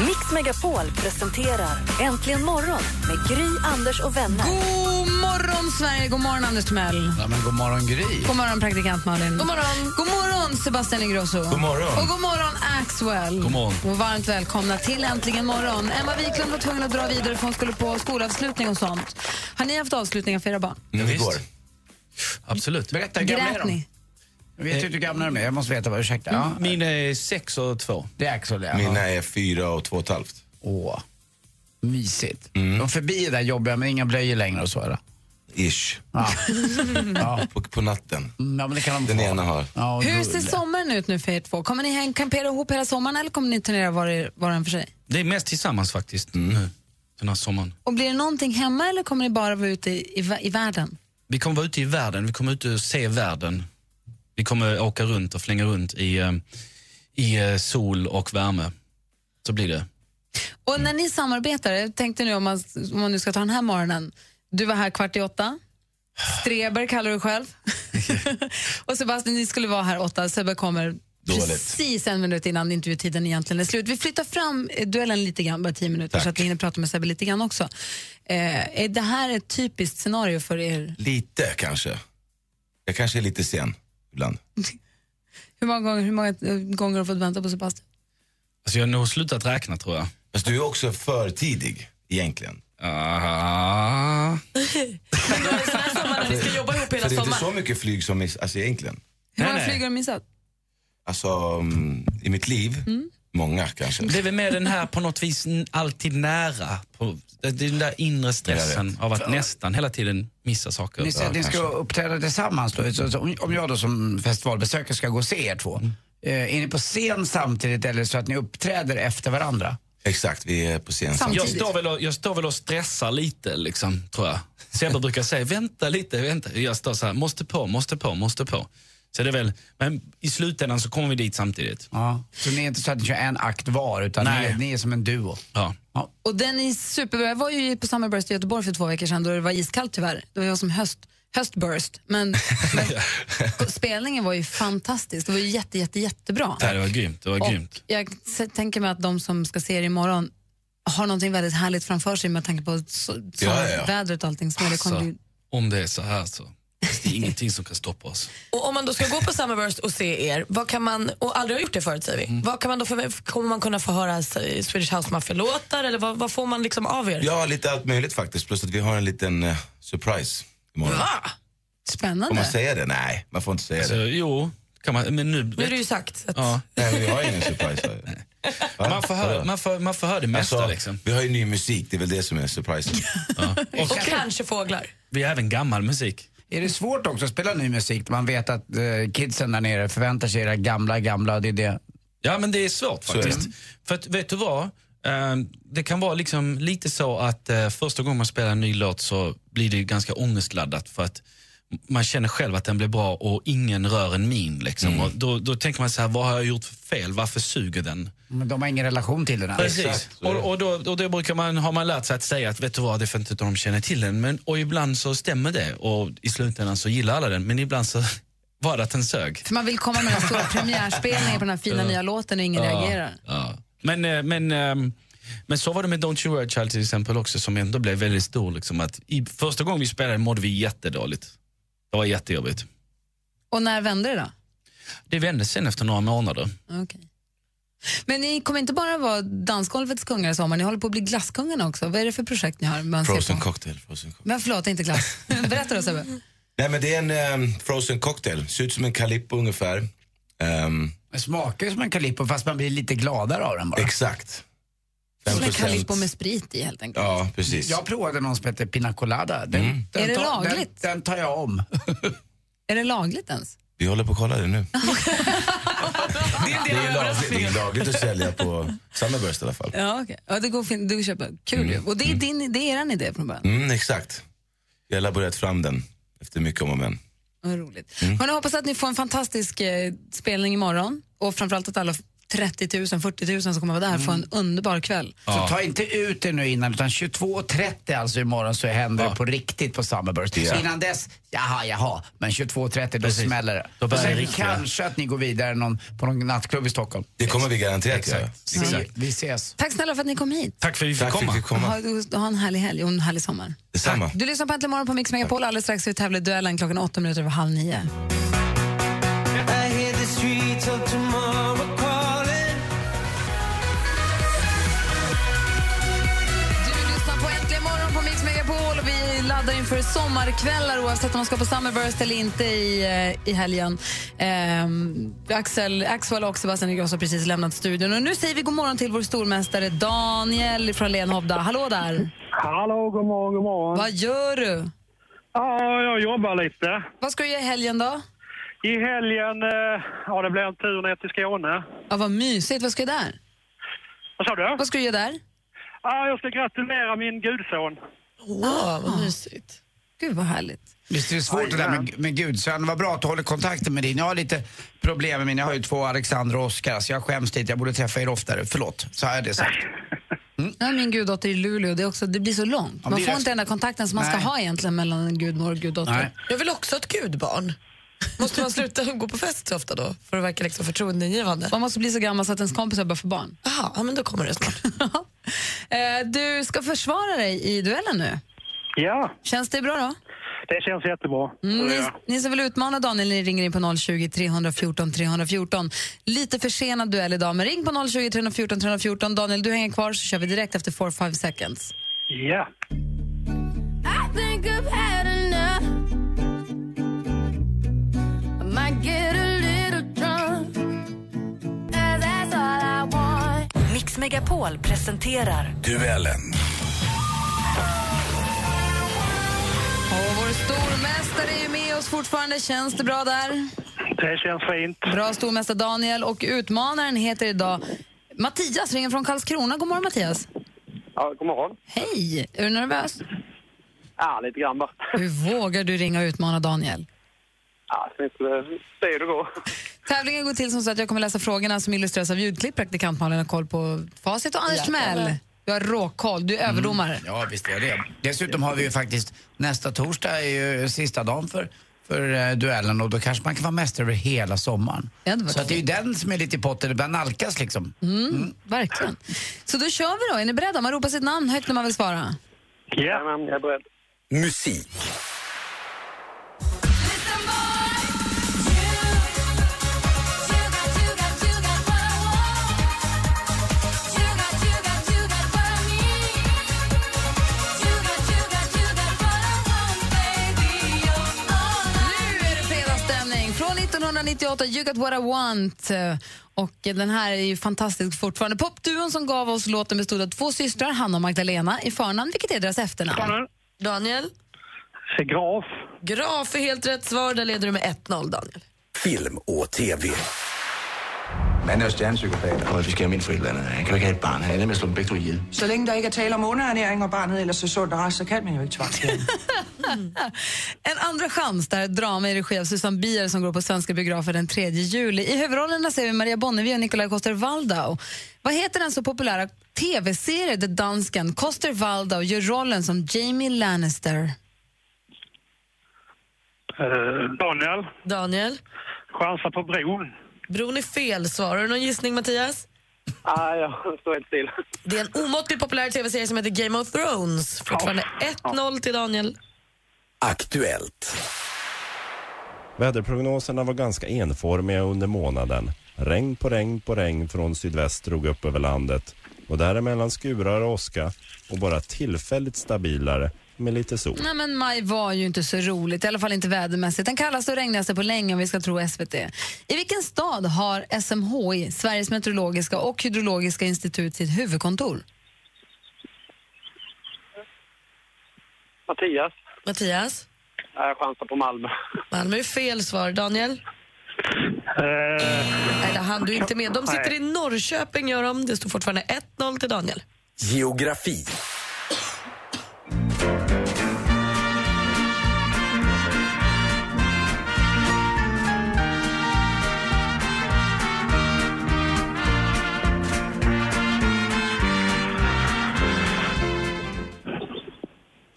[SPEAKER 1] Mix Megapol presenterar Äntligen morgon med Gry, Anders och vänner.
[SPEAKER 5] God morgon, Sverige! God morgon, Anders Timell.
[SPEAKER 6] Ja, men god morgon Gry.
[SPEAKER 5] God morgon, praktikant Malin. God morgon, god morgon Sebastian Ingrosso. God
[SPEAKER 10] morgon.
[SPEAKER 5] Och god morgon, Axwell.
[SPEAKER 7] God morgon.
[SPEAKER 5] Och varmt välkomna till Äntligen morgon. Emma Wiklund var tvungen att dra vidare för hon skulle på skolavslutning och sånt. Har ni haft avslutningar för era barn?
[SPEAKER 10] Mm,
[SPEAKER 7] Visst.
[SPEAKER 10] igår.
[SPEAKER 7] Absolut.
[SPEAKER 6] Berätta, hur gamla är
[SPEAKER 5] Grät
[SPEAKER 6] de?
[SPEAKER 5] ni?
[SPEAKER 6] Jag vet ju inte hur gamla de är. Jag måste veta. Vad, ursäkta. Ja,
[SPEAKER 7] Min är sex och två.
[SPEAKER 6] det är Axel. ja.
[SPEAKER 10] Mina är fyra och två och ett halvt.
[SPEAKER 6] Åh, mysigt. De förbi det där jobbiga men inga blöjor längre och så eller?
[SPEAKER 10] Ish. På, på natten.
[SPEAKER 6] Den
[SPEAKER 10] ena har.
[SPEAKER 5] Hur ser sommaren ut nu för er två? Kommer ni häng- kampera ihop hela sommaren eller kommer ni turnera var, er- var och en för sig?
[SPEAKER 7] Det är mest tillsammans faktiskt
[SPEAKER 6] Mm.
[SPEAKER 7] nu, den här sommaren.
[SPEAKER 5] Och blir det någonting hemma eller kommer ni bara vara ute i, i, vä- i världen?
[SPEAKER 7] Vi kommer vara ute i världen, vi kommer ut och se världen. Vi kommer åka runt och flänga runt i, eh, i eh, sol och värme. Så blir det.
[SPEAKER 5] Och när ni samarbetar, jag tänkte nu om man, om man nu ska ta den här morgonen. Du var här kvart i åtta. Streber kallar du själv. och Sebastian, ni skulle vara här åtta. Sebbe kommer
[SPEAKER 10] Dåligt.
[SPEAKER 5] precis en minut innan intervjutiden egentligen är slut. Vi flyttar fram eh, duellen lite grann, bara tio minuter, så att vi hinner prata med Sebbe lite grann också. Eh, är det här ett typiskt scenario för er?
[SPEAKER 10] Lite kanske. Jag kanske är lite sen ibland.
[SPEAKER 5] Hur många gånger, hur många eh, gånger har du fått vänta på Sebastian?
[SPEAKER 7] Alltså jag har nog slutat räkna tror jag.
[SPEAKER 10] Fast du är också för tidig egentligen.
[SPEAKER 7] Ah.
[SPEAKER 8] Vi ska jobba ihop
[SPEAKER 10] För
[SPEAKER 8] hela
[SPEAKER 10] det är inte så
[SPEAKER 8] sommaren.
[SPEAKER 10] mycket flyg som miss, alltså egentligen.
[SPEAKER 5] Hur många flyg har du missat?
[SPEAKER 10] Alltså mm, i mitt liv, många kanske.
[SPEAKER 7] Det är väl mer den här på något vis n- alltid nära. På, det, det är den där inre stressen av att nästan hela tiden missa saker.
[SPEAKER 6] Ni, säger att ni ska uppträda tillsammans då. Så, så, om- om jag då som festivalbesökare ska gå och se er två. Eh, är ni på scen samtidigt eller så att ni uppträder efter varandra?
[SPEAKER 10] Exakt, vi är på scen
[SPEAKER 7] Jag står, väl och, jag står väl och stressar lite, liksom, tror jag. Sebbe brukar säga, vänta lite, vänta. Jag står så här, måste på, måste på, måste på. Så det är väl, men i slutändan så kommer vi dit samtidigt.
[SPEAKER 6] Ja. Så ni är inte så att ni kör en akt var utan ni,
[SPEAKER 7] Nej.
[SPEAKER 6] är- ni är som en duo?
[SPEAKER 7] Ja.
[SPEAKER 5] Och den är superbra. Jag var ju på Summerburst i Göteborg för två veckor sedan då det var iskallt tyvärr. Det var jag som höst, höstburst. Men, men spelningen var ju fantastisk. Det var ju jätte, jätte, jättebra.
[SPEAKER 7] Det var grymt, det var grymt.
[SPEAKER 5] Jag s- tänker mig att de som ska se er imorgon har någonting väldigt härligt framför sig med tanke på so
[SPEAKER 7] Ja, ja.
[SPEAKER 5] vädret och allting. Som är. det kommer
[SPEAKER 7] Alltså,
[SPEAKER 5] bli...
[SPEAKER 7] om det är så här så finns det ingenting som kan stoppa oss.
[SPEAKER 8] Och om man då ska gå på Summerburst och se er, vad kan man, och aldrig har gjort det förut säger vi,
[SPEAKER 10] Mm.
[SPEAKER 8] vad kan man då för, kommer man kunna få höra eh, Swedish House Mafia-låtar eller vad, vad får man liksom av er?
[SPEAKER 10] Ja, lite allt möjligt faktiskt. Plus att vi har en liten eh, surprise imorgon. Får man
[SPEAKER 5] Spännande.
[SPEAKER 10] säga det? Nej, man får inte säga
[SPEAKER 7] Alltså,
[SPEAKER 10] det.
[SPEAKER 7] jo, kan man, men nu...
[SPEAKER 8] Nu är det ju sagt. Att,
[SPEAKER 7] Ja.
[SPEAKER 10] Nej, men vi har ingen surprise. va? Va?
[SPEAKER 7] Man får höra, man får, man får höra det mesta
[SPEAKER 10] Alltså,
[SPEAKER 7] liksom.
[SPEAKER 10] Vi har ju ny musik, det är väl det som är surprisen.
[SPEAKER 8] och kanske fåglar.
[SPEAKER 7] Vi har även gammal musik.
[SPEAKER 6] Är det svårt också att spela ny musik? Man vet att eh, kidsen där nere förväntar sig era gamla, gamla och det är det.
[SPEAKER 7] Ja, men det är svårt
[SPEAKER 6] Så är
[SPEAKER 7] faktiskt. För att, vet du vad? Eh, Det kan vara liksom lite så att eh, första gången man spelar en ny låt så blir det ganska ångestladdat för att man känner själv att den blir bra och ingen rör en min. Liksom. Och då, då tänker man så här, vad har jag gjort för fel? Varför suger den?
[SPEAKER 6] Men de har ingen relation till den här.
[SPEAKER 7] Precis. Och, och, då, och då brukar man, har man lärt sig att säga att vet du vad, det är för inte att de känner till den. Men, och ibland så stämmer det och i slutändan så gillar alla den. Men ibland så var det att den sög.
[SPEAKER 5] För man vill komma med den här stora premiärspelningen på den här fina
[SPEAKER 7] Ja.
[SPEAKER 5] nya låten och ingen
[SPEAKER 7] Ja.
[SPEAKER 5] reagerar.
[SPEAKER 7] Ja. Men, eh, men, ehm, men så var det med Don't You Worry Child till exempel också som ändå blev väldigt stor. Liksom, att i, första gången vi spelade mådde vi jättedåligt. Det var jättejobbigt.
[SPEAKER 5] Och när vände det då?
[SPEAKER 7] Det vände sen efter några månader.
[SPEAKER 5] Okej. Men ni kommer inte bara vara dansgolvets kungar i sommar, ni håller på att bli glasskungarna också. Vad är det för projekt ni har? Man ser
[SPEAKER 10] Frozen
[SPEAKER 5] på?
[SPEAKER 10] cocktail. Frozen cocktail.
[SPEAKER 5] Men förlåt, inte glass. Berätta då Sebbe.
[SPEAKER 10] Nej, men det är en ehm, frozen cocktail. Ser ut som en Calippo ungefär. Ehm,
[SPEAKER 6] Det smakar ju som en Calippo fast man blir lite gladare av den bara.
[SPEAKER 10] Exakt.
[SPEAKER 5] Som en
[SPEAKER 6] 5%.
[SPEAKER 5] Calippo med sprit i helt enkelt.
[SPEAKER 10] ja, precis.
[SPEAKER 6] Jag provade någon som heter Pina Colada. Den,
[SPEAKER 7] Mm.
[SPEAKER 6] den
[SPEAKER 5] Är det
[SPEAKER 6] tar,
[SPEAKER 5] lagligt?
[SPEAKER 6] Den, den tar jag om.
[SPEAKER 5] Är det lagligt ens?
[SPEAKER 10] Vi håller på att kolla det nu.
[SPEAKER 8] Det är en
[SPEAKER 10] Det
[SPEAKER 8] del av
[SPEAKER 10] är lagligt, det är
[SPEAKER 8] överraskningen.
[SPEAKER 10] lagligt att sälja på Summerburst i alla fall.
[SPEAKER 5] Ja, okej. Ja, det går fint. Du köper. Kul ju. Och det är, din, det är er idé från början.
[SPEAKER 10] Mm, exakt. Jag har laborerat fram den efter mycket om och men. Mm.
[SPEAKER 5] Vad roligt. Hörrni, hoppas att ni får en fantastisk eh, spelning imorgon och framförallt att alla 30 000, 40 000 som kommer vara där får
[SPEAKER 10] Mm.
[SPEAKER 5] en underbar kväll.
[SPEAKER 6] Så ta inte ut det nu innan, utan 22.30 alltså imorgon så händer det på riktigt på Summerburst.
[SPEAKER 7] Ja.
[SPEAKER 6] Så innan dess, jaha, jaha, men 22.30 då
[SPEAKER 7] Precis.
[SPEAKER 6] smäller det.
[SPEAKER 7] Då
[SPEAKER 6] och
[SPEAKER 7] börjar
[SPEAKER 6] sen
[SPEAKER 7] det riktiga.
[SPEAKER 6] kanske att ni går vidare någon, på någon nattklubb i Stockholm.
[SPEAKER 10] Det kommer vi garanterat göra.
[SPEAKER 6] Vi, vi ses.
[SPEAKER 5] Tack snälla för att ni kom hit.
[SPEAKER 7] Tack för att vi
[SPEAKER 10] Tack
[SPEAKER 7] fick
[SPEAKER 10] för att vi
[SPEAKER 7] komma.
[SPEAKER 10] fick komma.
[SPEAKER 5] Ha, ha en härlig helg och en härlig sommar.
[SPEAKER 10] Detsamma.
[SPEAKER 5] Du lyssnar på Äntligen morgon på Mix Megapol. Alldeles strax ska vi tävla i duellen klockan åtta minuter över halv nio. Du lyssnar på Äntligen morgon på Mix Megapol och vi laddar inför sommarkvällar oavsett om man ska på Summerburst eller inte i, eh, i helgen. Ehm, Axel, Axel och Sebastian Ingrosso har precis lämnat studion och nu säger vi god morgon till vår stormästare Daniel från Lenhovda. Hallå där!
[SPEAKER 13] Hallå, god morgon, god morgon.
[SPEAKER 5] Vad gör du?
[SPEAKER 13] Ja, jag jobbar lite.
[SPEAKER 5] Vad ska du göra i helgen då?
[SPEAKER 13] I helgen, eh, ja det blir en tur ner till Skåne.
[SPEAKER 5] Ja, vad mysigt. Vad ska du där?
[SPEAKER 13] Vad sa du?
[SPEAKER 5] Vad ska du göra där?
[SPEAKER 13] Ja, jag ska gratulera min gudson.
[SPEAKER 5] Wow, vad mysigt. Gud, vad härligt.
[SPEAKER 6] Visst är det svårt det där med, med gudsön. Vad bra att du håller kontakten med din. Jag har lite problem med min. Jag har ju två Alexander och Oskar, så jag skäms lite. Jag borde träffa er oftare. Förlåt, så är det sagt.
[SPEAKER 5] Mm. Ja, min guddotter i Luleå, det, är också, det blir så långt.
[SPEAKER 6] Ja,
[SPEAKER 5] Man
[SPEAKER 6] det är
[SPEAKER 5] får
[SPEAKER 6] det.
[SPEAKER 5] inte den där kontakten som man ska
[SPEAKER 6] Nej.
[SPEAKER 5] ha egentligen mellan en gudmor och guddotter.
[SPEAKER 6] Nej.
[SPEAKER 8] Jag vill också ha ett gudbarn. Måste man sluta gå på fest så ofta då för att verka liksom förtroendeingivande?
[SPEAKER 5] Man måste bli så gammal så att ens kompisar börjar få barn.
[SPEAKER 8] Jaha, ja, men då kommer det snart.
[SPEAKER 5] Eh, du ska försvara dig i duellen nu.
[SPEAKER 13] Ja,
[SPEAKER 5] Känns det bra då?
[SPEAKER 13] det känns jättebra.
[SPEAKER 5] Mm, ni,
[SPEAKER 13] Ja.
[SPEAKER 5] ni som vill utmana Daniel ni ringer in på 020 314 314. Lite försenad duell idag, men ring på 020 314 314. Daniel, du hänger kvar så kör vi direkt efter 4-5 seconds.
[SPEAKER 13] Ja.
[SPEAKER 14] I think I've had enough. I might get a little drunk. And that's all I want.
[SPEAKER 1] Mix Megapol presenterar...
[SPEAKER 15] Duellen.
[SPEAKER 5] Och vår stormästare är ju med oss fortfarande. Känns det bra där?
[SPEAKER 13] Det känns fint.
[SPEAKER 5] Bra stormästare Daniel och utmanaren heter idag Mattias, ringer från Karlskrona. God morgon Mattias.
[SPEAKER 16] Ja, god morgon.
[SPEAKER 5] Hej! Är du nervös?
[SPEAKER 16] Ja, lite grann bara.
[SPEAKER 5] Hur vågar du ringa och utmana Daniel?
[SPEAKER 16] Ja, sen så det är ju det går.
[SPEAKER 5] Tävlingen går till som så att jag kommer läsa frågorna som illustreras av ljudklipp. Praktikant Malin har koll på facit och Anders
[SPEAKER 6] Ja.
[SPEAKER 5] Timell. Du har råkoll, du är
[SPEAKER 16] Mm.
[SPEAKER 5] överdomare.
[SPEAKER 6] Ja, visst är det. Dessutom har vi ju faktiskt, nästa torsdag är ju sista dagen för, för eh, duellen och då kanske man kan vara mästare över hela sommaren.
[SPEAKER 5] Ja, det var
[SPEAKER 6] så att det är ju den som är lite i potten, det börjar nalkas liksom.
[SPEAKER 5] Mm, Verkligen. Så då kör vi då. Är ni beredda? Man ropar sitt namn högt när man vill svara.
[SPEAKER 16] Jajamän, jag är beredd.
[SPEAKER 15] Musik.
[SPEAKER 5] Nu är det fredagsstämning från 1998, You got what I want. Och den här är ju fantastisk fortfarande. Popduon som gav oss låten bestod av två systrar, Hanna och Magdalena, i förnamn, vilket är deras efternamn.
[SPEAKER 8] Daniel?
[SPEAKER 13] Graf.
[SPEAKER 8] Graf är helt rätt svar. Där leder du med 1-0, Daniel.
[SPEAKER 15] Film och TV.
[SPEAKER 17] Han er jo stjernepsykopat.
[SPEAKER 15] Og vi skal have min for et eller andet. Han kan jo ikke have et barn. Han ender med at slå dem begge to ihjel.
[SPEAKER 18] Så länge der ikke er tale om underernæring og barnet eller så sundt og rest, så kan man jo ikke tvangsfjerne.
[SPEAKER 5] En andra chans, där drama i regi av Susanne Bier som går på svenska biografer den 3 juli. I huvudrollerna ser vi Maria Bonnevie och Nikolaj Coster-Waldau. Vad heter den så populära tv-serien där dansken Coster-Waldau gör rollen som Jamie Lannister?
[SPEAKER 13] Eh, Daniel,
[SPEAKER 8] Daniel?
[SPEAKER 13] chansa på bron.
[SPEAKER 8] Bron är fel svar. Har du någon gissning, Mattias?
[SPEAKER 16] Ah, Ja, jag står helt still.
[SPEAKER 8] Det är en omåttligt populär tv-serie som heter Game of Thrones. Fortfarande 1-0 till Daniel.
[SPEAKER 15] Aktuellt.
[SPEAKER 19] Väderprognoserna var ganska enformiga under månaden. Regn på regn på regn från sydväst drog upp över landet och däremellan skurar och åska och bara tillfälligt stabilare med lite sol.
[SPEAKER 5] Nej, men maj var ju inte så roligt, i alla fall inte vädermässigt. Den kallaste och regnigaste på länge om vi ska tro SVT. I vilken stad har SMHI, Sveriges meteorologiska och hydrologiska institut, sitt huvudkontor?
[SPEAKER 16] Mattias,
[SPEAKER 8] Mattias?
[SPEAKER 16] ja, jag chansar på Malmö.
[SPEAKER 8] Malmö är fel svar. Daniel?
[SPEAKER 16] Eh,
[SPEAKER 8] Nej, det hann du inte med. De sitter
[SPEAKER 16] Nej.
[SPEAKER 8] i Norrköping, gör de. Det står fortfarande 1-0 till Daniel.
[SPEAKER 15] Geografi.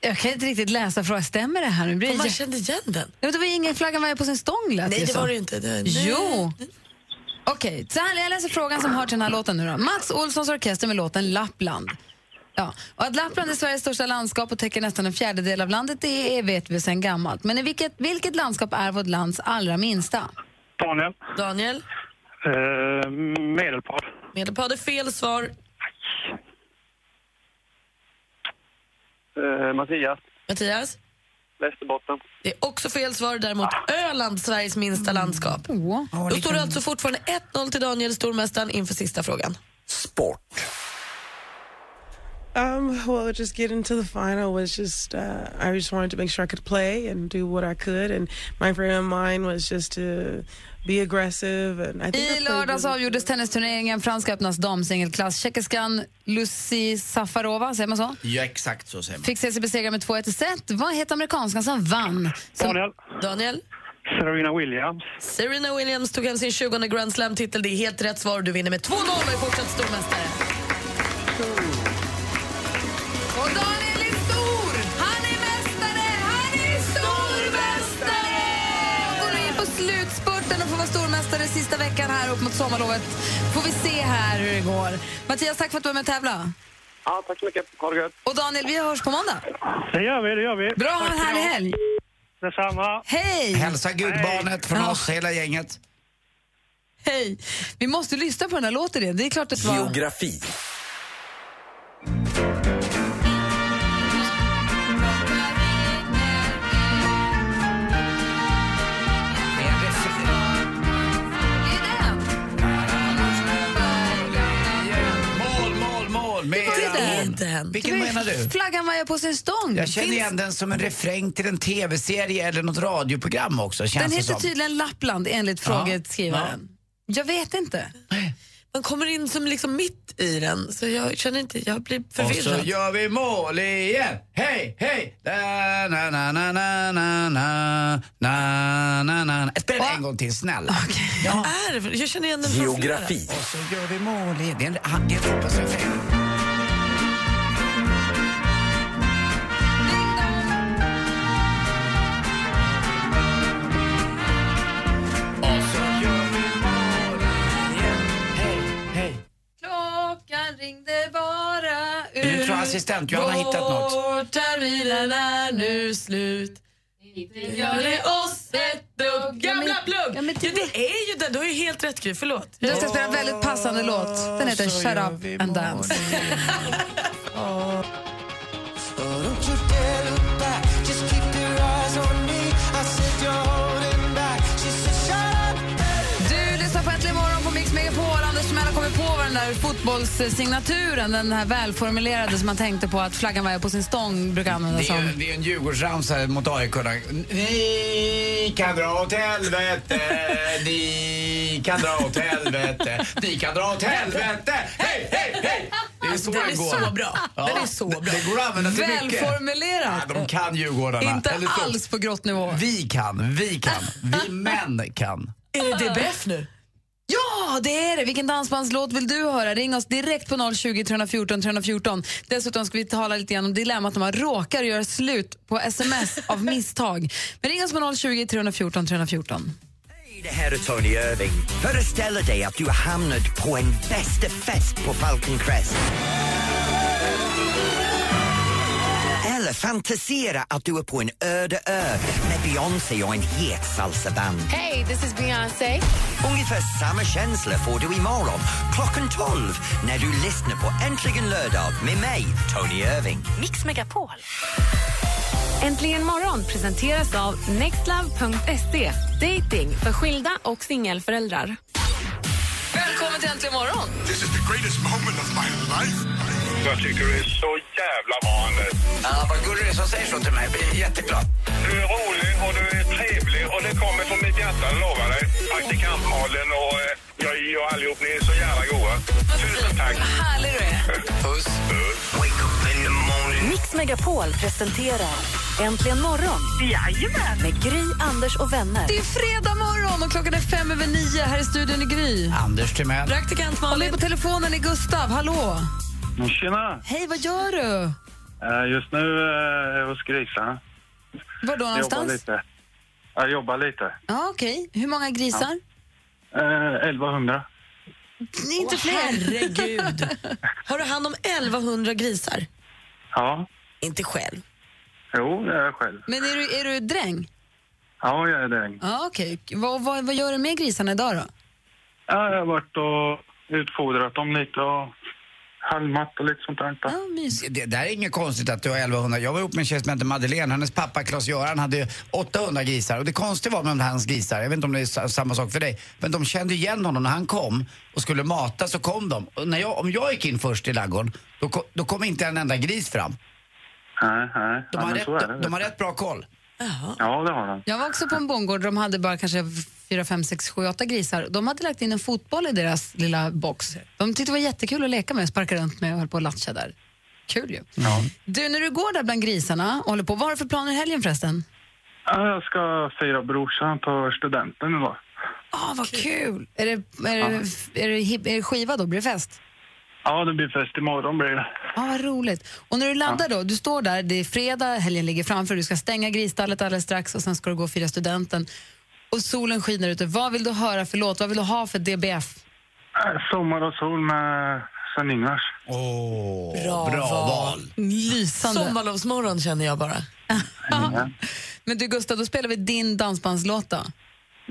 [SPEAKER 5] Jag kan inte riktigt läsa frågan. Stämmer det här? Nu blir
[SPEAKER 8] Och man
[SPEAKER 5] jag-
[SPEAKER 8] kände igen den.
[SPEAKER 5] Ja, men Det var ju ingen flaggan var på sin stång lät
[SPEAKER 8] Nej, det
[SPEAKER 5] så.
[SPEAKER 8] var det ju inte. Det- nej.
[SPEAKER 5] Jo! Okej, så här, jag läser frågan som hör till den här låten nu då. Mats Olssons orkester med låten Lappland. Ja, och att Lappland är Sveriges största landskap och täcker nästan en fjärdedel av landet, det är, vet vi sedan gammalt. Men i vilket, vilket landskap är vårt lands allra minsta?
[SPEAKER 13] Daniel,
[SPEAKER 8] Daniel?
[SPEAKER 13] eh, Medelpad.
[SPEAKER 8] Medelpad är fel svar.
[SPEAKER 16] eh, Mattias,
[SPEAKER 8] Mattias?
[SPEAKER 16] Västerbotten.
[SPEAKER 8] Det är också fel svar. Däremot Öland, Sveriges minsta landskap. Då står det alltså fortfarande 1-0 till Daniel, stormästaren, inför sista frågan.
[SPEAKER 15] Sport.
[SPEAKER 20] Um, well, just getting to the final was just, uh, I just wanted to make sure I could play and do what I could. And my frame of mind was just to be aggressive. And I think I
[SPEAKER 5] I
[SPEAKER 20] played
[SPEAKER 5] lördags
[SPEAKER 20] really-
[SPEAKER 5] avgjordes tennisturneringen Franska öppnas damsingelklass. Tjeckiskan Lucy Safarova, säger man så?
[SPEAKER 6] Ja, exakt så säger man.
[SPEAKER 5] Fick se sig besegrad med 2-1 i set. Vad heter amerikanskan som vann?
[SPEAKER 8] Daniel. Daniel.
[SPEAKER 16] Serena Williams.
[SPEAKER 8] Serena Williams tog hem sin 20 Grand Slam-titel. Det är helt rätt svar. Du vinner med 2-0 och är fortsatt stormästare.
[SPEAKER 5] Och Daniel är stor! Han är mästare! Han är stormästare! Går du in på slutspurten och får vara stormästare sista veckan här upp mot sommarlovet. Får vi se här hur det går. Mattias, tack för att du var med och tävla.
[SPEAKER 16] Ja, tack så mycket. Ha det gött.
[SPEAKER 5] Och Daniel, vi hörs på måndag.
[SPEAKER 16] Det gör vi, det gör vi.
[SPEAKER 5] Bra, ha en härlig helg!
[SPEAKER 16] Detsamma.
[SPEAKER 5] Hej!
[SPEAKER 6] Hälsa gudbarnet från oss, hela gänget.
[SPEAKER 5] Hej! Vi måste lyssna på den här låten igen. Det är klart att det var...
[SPEAKER 15] Geografi.
[SPEAKER 6] Mål, mål, mål! Med era mål. Vilken menar du?
[SPEAKER 5] Flaggan vajar på sin stång.
[SPEAKER 6] Jag känner igen den som en refräng till en tv-serie eller något radioprogram också. Känns
[SPEAKER 5] Den
[SPEAKER 6] det
[SPEAKER 5] heter
[SPEAKER 6] som.
[SPEAKER 5] tydligen Lappland enligt
[SPEAKER 6] Ja.
[SPEAKER 5] frågeskrivaren. Jag vet inte.
[SPEAKER 8] Man kommer in som liksom mitt i den, så jag känner inte, jag blir
[SPEAKER 6] Och
[SPEAKER 8] förvirrad.
[SPEAKER 6] så gör vi mål igen! Hej, hej! Da, na, na, na, na, na, na, na, na, na. Spela en gång till, snäll.
[SPEAKER 8] Vad är det för- Jag känner igen den från
[SPEAKER 6] Geografi.
[SPEAKER 8] flera.
[SPEAKER 6] Och så gör vi mål igen. Det är en- han- det är en Europasrefräng.
[SPEAKER 5] Klockan ringde bara ut.
[SPEAKER 6] Nu tror jag assistent Johanna har hittat något.
[SPEAKER 8] Vårterminen är nu slut. Inte gör det oss ett dugg. Gamla plugg! Ja, det är ju den. Du har ju helt rätt Gry, förlåt.
[SPEAKER 5] Du ska spela en väldigt passande låt. Den heter Shut up and dance. Du lyssnar på Äntligen morgon på Mix Megapol. Anders Timell har kommit på vad den där fotbollssignaturen, den här välformulerade som man tänkte på att flaggan vajar på sin stång brukar användas
[SPEAKER 6] Det är, ju-
[SPEAKER 5] som.
[SPEAKER 6] det är en Djurgårdsramsa mot AIK. Ni kan dra åt helvete, ni kan dra åt helvete, ni kan dra åt helvete. Hej, hej, hej! Det är så
[SPEAKER 5] Den
[SPEAKER 6] det
[SPEAKER 5] är
[SPEAKER 6] går.
[SPEAKER 5] så bra.
[SPEAKER 6] Ja,
[SPEAKER 5] Den är så
[SPEAKER 6] det- Det går att använda till mycket.
[SPEAKER 5] Välformulerat.
[SPEAKER 6] Ja, de kan Djurgårdarna.
[SPEAKER 5] Inte
[SPEAKER 6] Eller så-
[SPEAKER 5] alls på grottnivå.
[SPEAKER 6] Vi kan, vi kan, vi män kan.
[SPEAKER 8] Är det DBF nu?
[SPEAKER 5] Ja, det är det! Vilken dansbandslåt vill du höra? Ring oss direkt på 020 314 314. Dessutom ska vi tala lite grann om dilemmat när man råkar göra slut på sms av misstag. Men ring oss på 020 314 314.
[SPEAKER 21] Det här är Tony Irving. Föreställ dig att du har hamnat på en bästa fest på Falcon Crest. Eller fantisera att du är på en öde ö med Beyoncé och en het salsaband.
[SPEAKER 12] Hey, this is Beyoncé.
[SPEAKER 21] Ungefär samma känsla får du imorgon klockan 12 när du lyssnar på Äntligen lördag med mig, Tony Irving.
[SPEAKER 12] Mix Megapol. Äntligen morgon presenteras av nextlove.se. Dating för skilda och singelföräldrar.
[SPEAKER 8] Välkommen till Äntligen morgon!
[SPEAKER 22] This is the greatest moment of my life. Jag tycker du är så jävla vanligt. Ja, vad gullig du är som säger så till mig. Jag blir jätteglad. Du är rolig och du är trevlig och det kommer från mitt hjärta, jag lovar dig. Praktikant Malin och eh, jag och allihop, ni är så jävla goa. Tusen tack.
[SPEAKER 5] Härlig du är.
[SPEAKER 22] Puss. Wake up in the morning.
[SPEAKER 1] Mix Megapol presenterar Äntligen morgon Jajamän. med Gry, Anders och vänner.
[SPEAKER 5] Det är fredag morgon och klockan är fem över nio. Här i studion i Gry.
[SPEAKER 6] Anders Timell.
[SPEAKER 5] Praktikant Malin. Och med på telefonen är Gustav. Hallå!
[SPEAKER 16] Tjena!
[SPEAKER 5] Hej, vad gör du?
[SPEAKER 16] Eh, Just nu eh, är jag hos grisarna.
[SPEAKER 5] Var då
[SPEAKER 16] Jobbar
[SPEAKER 5] någonstans?
[SPEAKER 16] lite. Jag jobbar lite.
[SPEAKER 5] Ja, Okej. Hur många grisar?
[SPEAKER 16] Eh, 1100.
[SPEAKER 5] Inte
[SPEAKER 8] fler. Herregud. Har du hand om 1100 grisar?
[SPEAKER 16] Ja.
[SPEAKER 8] Inte själv.
[SPEAKER 16] Jo, det är jag själv.
[SPEAKER 5] Men är du, är du dräng?
[SPEAKER 16] Ja, jag är dräng.
[SPEAKER 5] Ja, okej. Vad, vad, vad gör du med grisarna idag då?
[SPEAKER 16] Ja, Jag har varit och utfodrat dem lite och Hallmatt och lite sånt där.
[SPEAKER 6] Det där är inget konstigt att du har 1100. Jag var ihop med en tjej som hette Madeleine. Hennes pappa Claes-Göran hade 800 grisar. Och det konstiga var med hans grisar, jag vet inte om det är sa- samma sak för dig, men de kände igen honom när han kom och skulle mata så kom de. Och när jag, om jag gick in först i ladugården, då, ko- då kom inte en enda gris fram.
[SPEAKER 16] Nej, nej. Ja,
[SPEAKER 6] De har,
[SPEAKER 16] men
[SPEAKER 6] rätt,
[SPEAKER 16] så är det.
[SPEAKER 6] de, de har rätt bra koll.
[SPEAKER 16] Ja, det har de.
[SPEAKER 5] Jag var också på en bondgård där de hade bara kanske fyra, fem, sex, sju, åtta grisar. De hade lagt in en fotboll i deras lilla box. De tyckte det var jättekul att leka med, sparka runt med och höll på att latcha där. Kul ju.
[SPEAKER 16] Ja.
[SPEAKER 5] Du, när du går där bland grisarna och håller på, vad har du för planer i helgen förresten?
[SPEAKER 16] Jag ska fira brorsan, tar studenten idag.
[SPEAKER 5] Ah, vad kul! Är, det, är, det, är, det, hip- är det skiva då? Blir det fest?
[SPEAKER 16] Ja, det blir fest imorgon blir det.
[SPEAKER 5] Ja, ah, vad roligt. Och när du laddar då, du står där, det är fredag, helgen ligger framför, du ska stänga grisstallet alldeles strax och sen ska du gå och fira studenten. Och solen skiner ute. Vad vill du höra för låt? Vad vill du ha för DBF?
[SPEAKER 16] Äh, Sommar och sol med Sven-Ingvars.
[SPEAKER 6] Åh,
[SPEAKER 8] Bra bra val. val.
[SPEAKER 5] Lysande.
[SPEAKER 8] Sommarlovsmorgon känner jag bara.
[SPEAKER 5] Men du Gustav, då spelar vi din dansbandslåt då.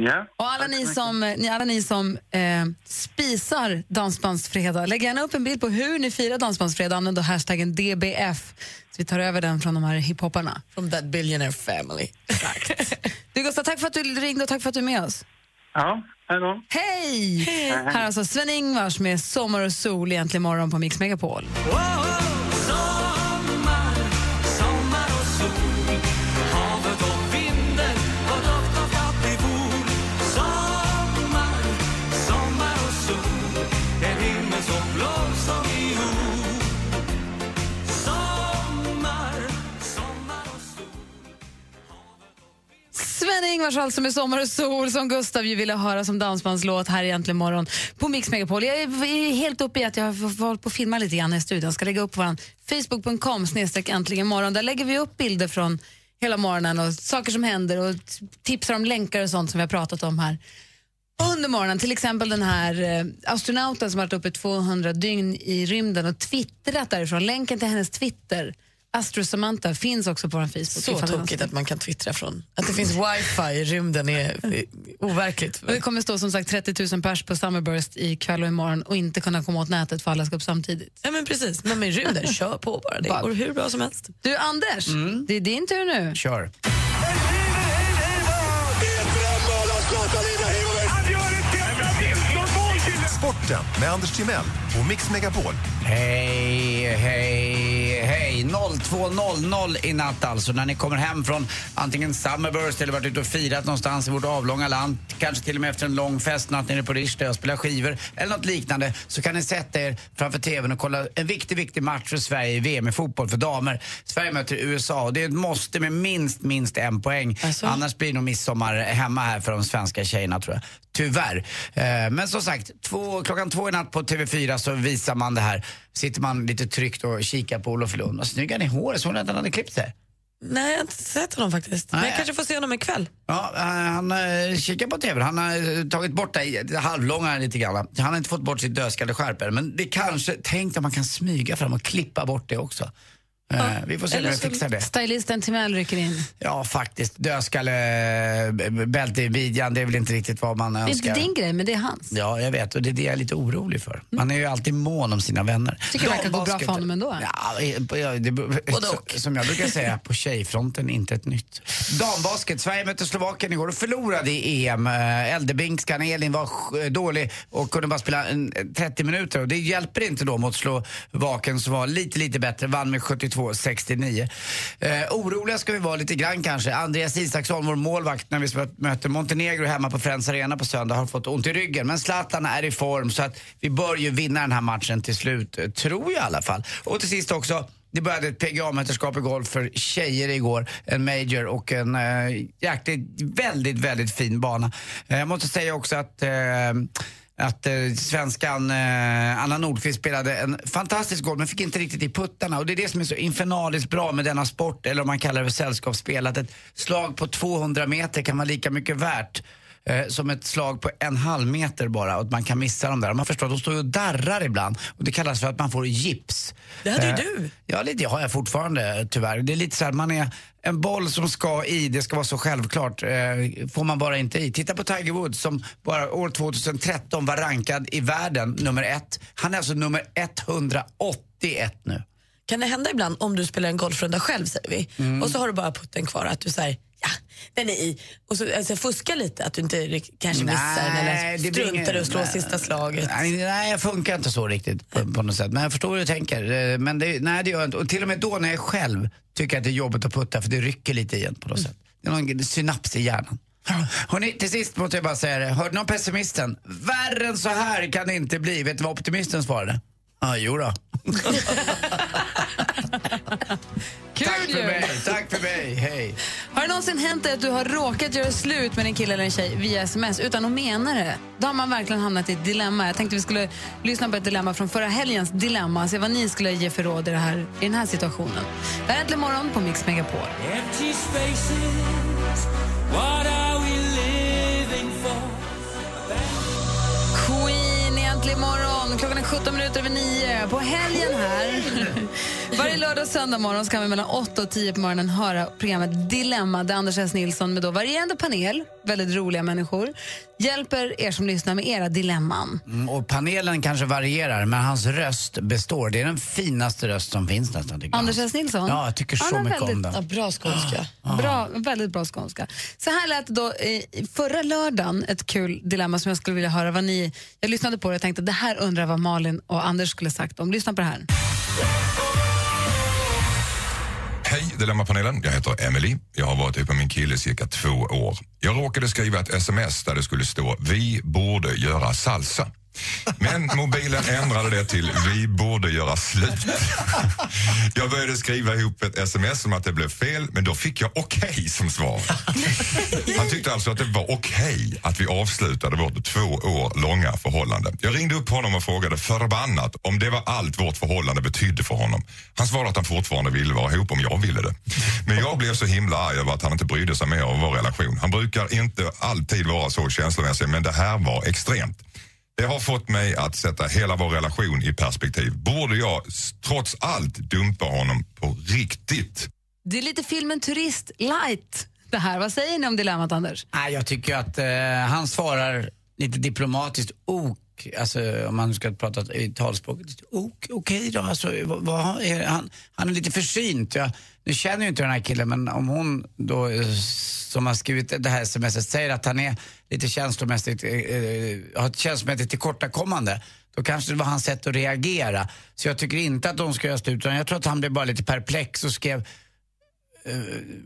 [SPEAKER 16] Ja.
[SPEAKER 5] Och alla ni som, ni, alla ni som eh, spisar Dansbandsfredag, lägg gärna upp en bild på hur ni firar Dansbandsfredag. Använd då hashtaggen DBF. Så vi tar över den från de här hiphopparna.
[SPEAKER 8] From that billionaire family.
[SPEAKER 5] Du Gustav, tack för att du ringde och tack för att du är med oss.
[SPEAKER 16] Ja, hej då.
[SPEAKER 5] Hej!
[SPEAKER 16] Hej.
[SPEAKER 5] Här alltså Sven-Ingvars med Sommar och sol egentligen imorgon på Mix Megapol.
[SPEAKER 14] Sommar, sommar och sol Havet och vinden och doften av pivor Sommar, sommar och sol En himmel så blå som viol Sommar, sommar och sol
[SPEAKER 5] Sven-Ingvars alltså med Sommar och sol som Gustav ju ville höra som dansbandslåt här egentligen imorgon på Mix Megapol. Jag är är helt uppe i att jag har hållit på att filma lite grann i studion. Ska lägga upp på vår facebook.com snedstreck äntligen morgon. Där lägger vi upp bilder från hela morgonen och saker som händer och t- tipsar om länkar och sånt som vi har pratat om här. Under morgonen, till exempel den här eh, astronauten som har varit uppe 200 dygn i rymden och twittrat därifrån. Länken till hennes Twitter, Astro Samantha, finns också på vår Facebook.
[SPEAKER 8] Så
[SPEAKER 5] ifall det är någon
[SPEAKER 8] tokigt
[SPEAKER 5] som-
[SPEAKER 8] att man kan twittra från... Att det finns wifi i rymden är är overkligt.
[SPEAKER 5] Och det kommer stå som sagt 30 000 pers på Summerburst i kväll och imorgon och inte kunna komma åt nätet för alla ska upp samtidigt.
[SPEAKER 8] Ja, men precis. Men med rymden, kör på bara. Det går hur bra som helst.
[SPEAKER 5] Du Anders,
[SPEAKER 8] Mm.
[SPEAKER 5] det är din tur nu.
[SPEAKER 6] Kör.
[SPEAKER 11] Sporten med Anders Timell och Mix Megapol.
[SPEAKER 6] Hej, hej, hej. 02.00 i natt alltså, när ni kommer hem från antingen Summerburst eller varit ute och firat någonstans i vårt avlånga land. Kanske till och med efter en lång festnatt nere på Rish där jag spelar skivor eller något liknande. Så kan ni sätta er framför TVn och kolla en viktig, viktig match för Sverige i VM i fotboll för damer. Sverige möter USA och det är ett måste med minst, minst en poäng. Annars blir det nog midsommar hemma här för de svenska tjejerna tror jag. Tyvärr. Eh, Men som sagt, två, klockan två i natt på TV4 så visar man det här. Sitter man lite tryggt och kikar på Olof Lund. Vad snygg han är i håret. Såg ni att han hade klippt sig?
[SPEAKER 8] Nej, jag har inte sett honom faktiskt. Men jag kanske får se honom ikväll.
[SPEAKER 6] Ja, eh, han eh, kikar på TV. Han har eh, tagit bort det här, det halvlånga lite grann. Han har inte fått bort sitt dödskalle skärp än, Men det kanske, tänk om man kan smyga fram och klippa bort det också. Eh, vi får se hur vi fixar det.
[SPEAKER 5] Stylisten Timell rycker in.
[SPEAKER 6] Ja, faktiskt. Dödskalle, b- b- bälte i midjan, det är väl inte riktigt vad man
[SPEAKER 5] Det är
[SPEAKER 6] önskar.
[SPEAKER 5] inte din grej, men det är hans.
[SPEAKER 6] Ja, jag vet. Och det är det jag är lite orolig för. Man är ju alltid mån om sina vänner.
[SPEAKER 5] tycker det verkar gå bra
[SPEAKER 6] Dambasket-
[SPEAKER 5] för honom ändå.
[SPEAKER 6] Ja, eh, på- ja, det, så, som jag brukar säga, på tjejfronten inte ett nytt. Dambasket, Sverige mötte Slovakien igår och förlorade i EM. Eh, Eldebingskan, Elin var sj- eh, dålig och kunde bara spela en, eh, 30 minuter och det hjälper inte då mot Slovakien som var lite, lite bättre, vann med 72-69. Eh, oroliga ska vi vara lite grann kanske. Andreas Isaksson, vår målvakt, när vi spö- möter Montenegro hemma på Friends Arena på söndag, har fått ont i ryggen. Men Zlatan är i form så att vi bör ju vinna den här matchen till slut, eh, tror jag i alla fall. Och till sist också, det började ett PGA-mästerskap i golf för tjejer igår. En major och en eh, jäkligt, väldigt, väldigt fin bana. Eh, jag måste säga också att eh, att eh, svenskan eh, Anna Nordqvist spelade en fantastisk golf men fick inte riktigt i puttarna. Och det är det som är så infernaliskt bra med denna sport, eller om man kallar det för sällskapsspel, att ett slag på 200 meter kan vara lika mycket värt eh, som ett slag på en halv meter bara och att man kan missa dem där. Och Man förstår att de står ju och darrar ibland och det kallas för att man får gips.
[SPEAKER 8] Det hade ju
[SPEAKER 6] Eh,
[SPEAKER 8] du.
[SPEAKER 6] Ja, lite har jag fortfarande tyvärr. Det är lite så här, man är en boll som ska i, det ska vara så självklart. Eh, får man bara inte i. Titta på Tiger Woods som bara år 2013 var rankad i världen nummer ett. Han är alltså nummer 181 nu.
[SPEAKER 8] Kan det hända ibland om du spelar en golfrunda själv säger vi
[SPEAKER 6] Mm.
[SPEAKER 8] och så har du bara putten kvar att du säger ja, den är i och så alltså, fuskar lite att du inte rikt- kanske missar den eller
[SPEAKER 6] det blir
[SPEAKER 8] struntar i
[SPEAKER 6] ingen-
[SPEAKER 8] att slå
[SPEAKER 6] nej.
[SPEAKER 8] sista slaget.
[SPEAKER 6] Nej, nej, jag funkar inte så riktigt på, på något sätt. Men jag förstår hur du tänker. Eh, Men det, nej, det gör jag inte. Och till och med då när jag själv tycker att det är jobbigt att putta för det rycker lite igen på
[SPEAKER 8] Mm.
[SPEAKER 6] något sätt. Det är någon synaps i hjärnan. Hörrni, till sist måste jag bara säga det. Hörde ni om pessimisten? Värre än så här kan det inte bli. Vet du vad optimisten svarade? Ja, ah, jo då. Tack för mig, tack för mig, hej.
[SPEAKER 5] Har det någonsin hänt dig att du har råkat göra slut med en kille eller en tjej via sms utan att mena det? Då har man verkligen hamnat i ett dilemma. Jag tänkte vi skulle lyssna på ett dilemma från förra helgens dilemma. Se vad ni skulle ge för råd i, det här, i den här situationen. Det här är Äntligen morgon på Mix Megapol.
[SPEAKER 14] Empty spaces, what are we living for?
[SPEAKER 5] Queen i Äntligen morgon. Klockan är 17 minuter över 9. På helgen här. Varje lördag och söndag morgon ska vi mellan 8 och 10 på morgonen höra programmet Dilemma där Anders S. Nilsson med då varierande panel, väldigt roliga människor, hjälper er som lyssnar med era dilemman.
[SPEAKER 6] Mm, och panelen kanske varierar, men hans röst består. Det är den finaste röst som finns nästan, tycker jag.
[SPEAKER 5] Anders S. Nilsson?
[SPEAKER 6] Ja, jag tycker så
[SPEAKER 5] Han har
[SPEAKER 6] mycket om
[SPEAKER 5] väldigt,
[SPEAKER 6] den. Ah.
[SPEAKER 5] ja,
[SPEAKER 8] Bra skånska.
[SPEAKER 5] Bra, väldigt bra skånska. Så här lät det då eh, förra lördagen ett kul dilemma som jag skulle vilja höra vad ni... Jag lyssnade på det och tänkte det här undrar jag vad Malin och Anders skulle sagt om. Lyssna på det här.
[SPEAKER 2] Hej Dilemmapanelen, jag heter Emily. Jag har varit ihop med min kille i cirka två år. Jag råkade skriva ett sms där det skulle stå “Vi borde göra salsa”. Men mobilen ändrade det till “Vi borde göra slut”. Jag började skriva ihop ett sms om att det blev fel, men då fick jag “okej” som svar. Han tyckte alltså att det var okej att vi avslutade vårt två år långa förhållande. Jag ringde upp honom och frågade förbannat om det var allt vårt förhållande betydde för honom. Han svarade att han fortfarande ville vara ihop om jag ville det. Men jag blev så himla arg över att han inte brydde sig mer om vår relation. Han brukar inte alltid vara så känslomässig, men det här var extremt. Det har fått mig att sätta hela vår relation i perspektiv. Borde jag s- trots allt dumpa honom på riktigt?
[SPEAKER 5] Det är lite filmen Turist light det här. Vad säger ni om dilemmat Anders?
[SPEAKER 6] Nej, jag tycker att eh, han svarar lite diplomatiskt ok, alltså om man ska prata i talspråk. Ok, okej då, alltså, vad, vad är, han, han är lite försynt. Jag, nu känner ju inte den här killen, men om hon då eh, som har skrivit det här smset säger att han är lite känslomässigt, eh, eh, har ett känslomässigt tillkortakommande, då kanske det var hans sätt att reagera. Så jag tycker inte att de ska göra slut, utan jag tror att han blev bara lite perplex och skrev Eh,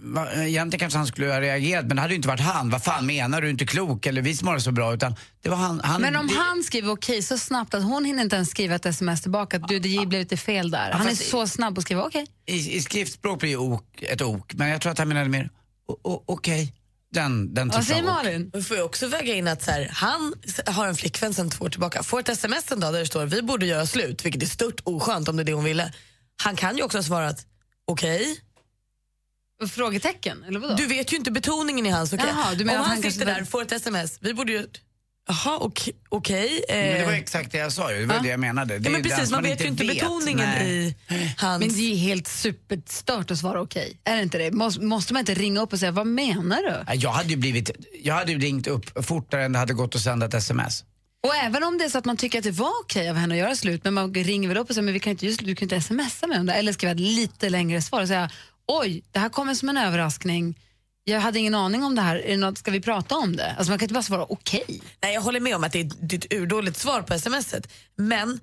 [SPEAKER 6] va- Egentligen kanske han skulle ha reagerat men det hade ju inte varit han. Vad fan menar du? Inte klok eller vi som har det så bra. Utan det var han. han
[SPEAKER 5] Men om
[SPEAKER 6] det-
[SPEAKER 5] han skriver okej så snabbt att hon hinner inte ens skriva ett sms tillbaka att du, det blev lite fel där. Han är
[SPEAKER 6] fast-
[SPEAKER 5] så snabb att skriva okej.
[SPEAKER 6] i, I skriftspråk blir ju ok ett ok. Men jag tror att han menade mer o- o- okej. Den, den typen av ok.
[SPEAKER 8] Vi får ju också väga in att så här, han s- har en flickvän sedan två år tillbaka. Får ett sms en dag där det står vi borde göra slut, vilket är stört oskönt om det är det hon ville. Han kan ju också ha svarat okej.
[SPEAKER 5] Frågetecken? Eller vadå?
[SPEAKER 8] Du vet ju inte betoningen i hans okej.
[SPEAKER 5] Jaha, du
[SPEAKER 8] Om
[SPEAKER 5] menar att
[SPEAKER 8] han,
[SPEAKER 5] han kanske
[SPEAKER 8] sitter
[SPEAKER 5] var-
[SPEAKER 8] där får ett sms, vi borde ju... Jaha, okej. okej, eh.
[SPEAKER 6] Men det var exakt det jag sa ju. Det var
[SPEAKER 8] Ja.
[SPEAKER 6] det jag menade. Det
[SPEAKER 8] ja,
[SPEAKER 6] är
[SPEAKER 8] men
[SPEAKER 6] ju den
[SPEAKER 8] precis,
[SPEAKER 6] som
[SPEAKER 8] man vet ju inte betoningen i hans...
[SPEAKER 5] Men det är ju helt superstört att svara okej. Är det inte det? Måste, måste man inte ringa upp och säga vad menar du?
[SPEAKER 6] Nej, Jag hade ju blivit, jag hade ju ringt upp fortare än det hade gått att sända ett sms.
[SPEAKER 5] Och även om det är så att man tycker att det var okej av henne att göra slut, men man ringer väl upp och säger men vi kan inte, just, du kan inte smsa med om det, eller skriva ett lite längre svar och säga oj, det här kommer som en överraskning. Jag hade ingen aning om det här. Är det något, ska vi prata om det? Alltså man kan inte bara svara okej.
[SPEAKER 8] Nej, jag håller med om att det är det är ett urdåligt svar på smset. Men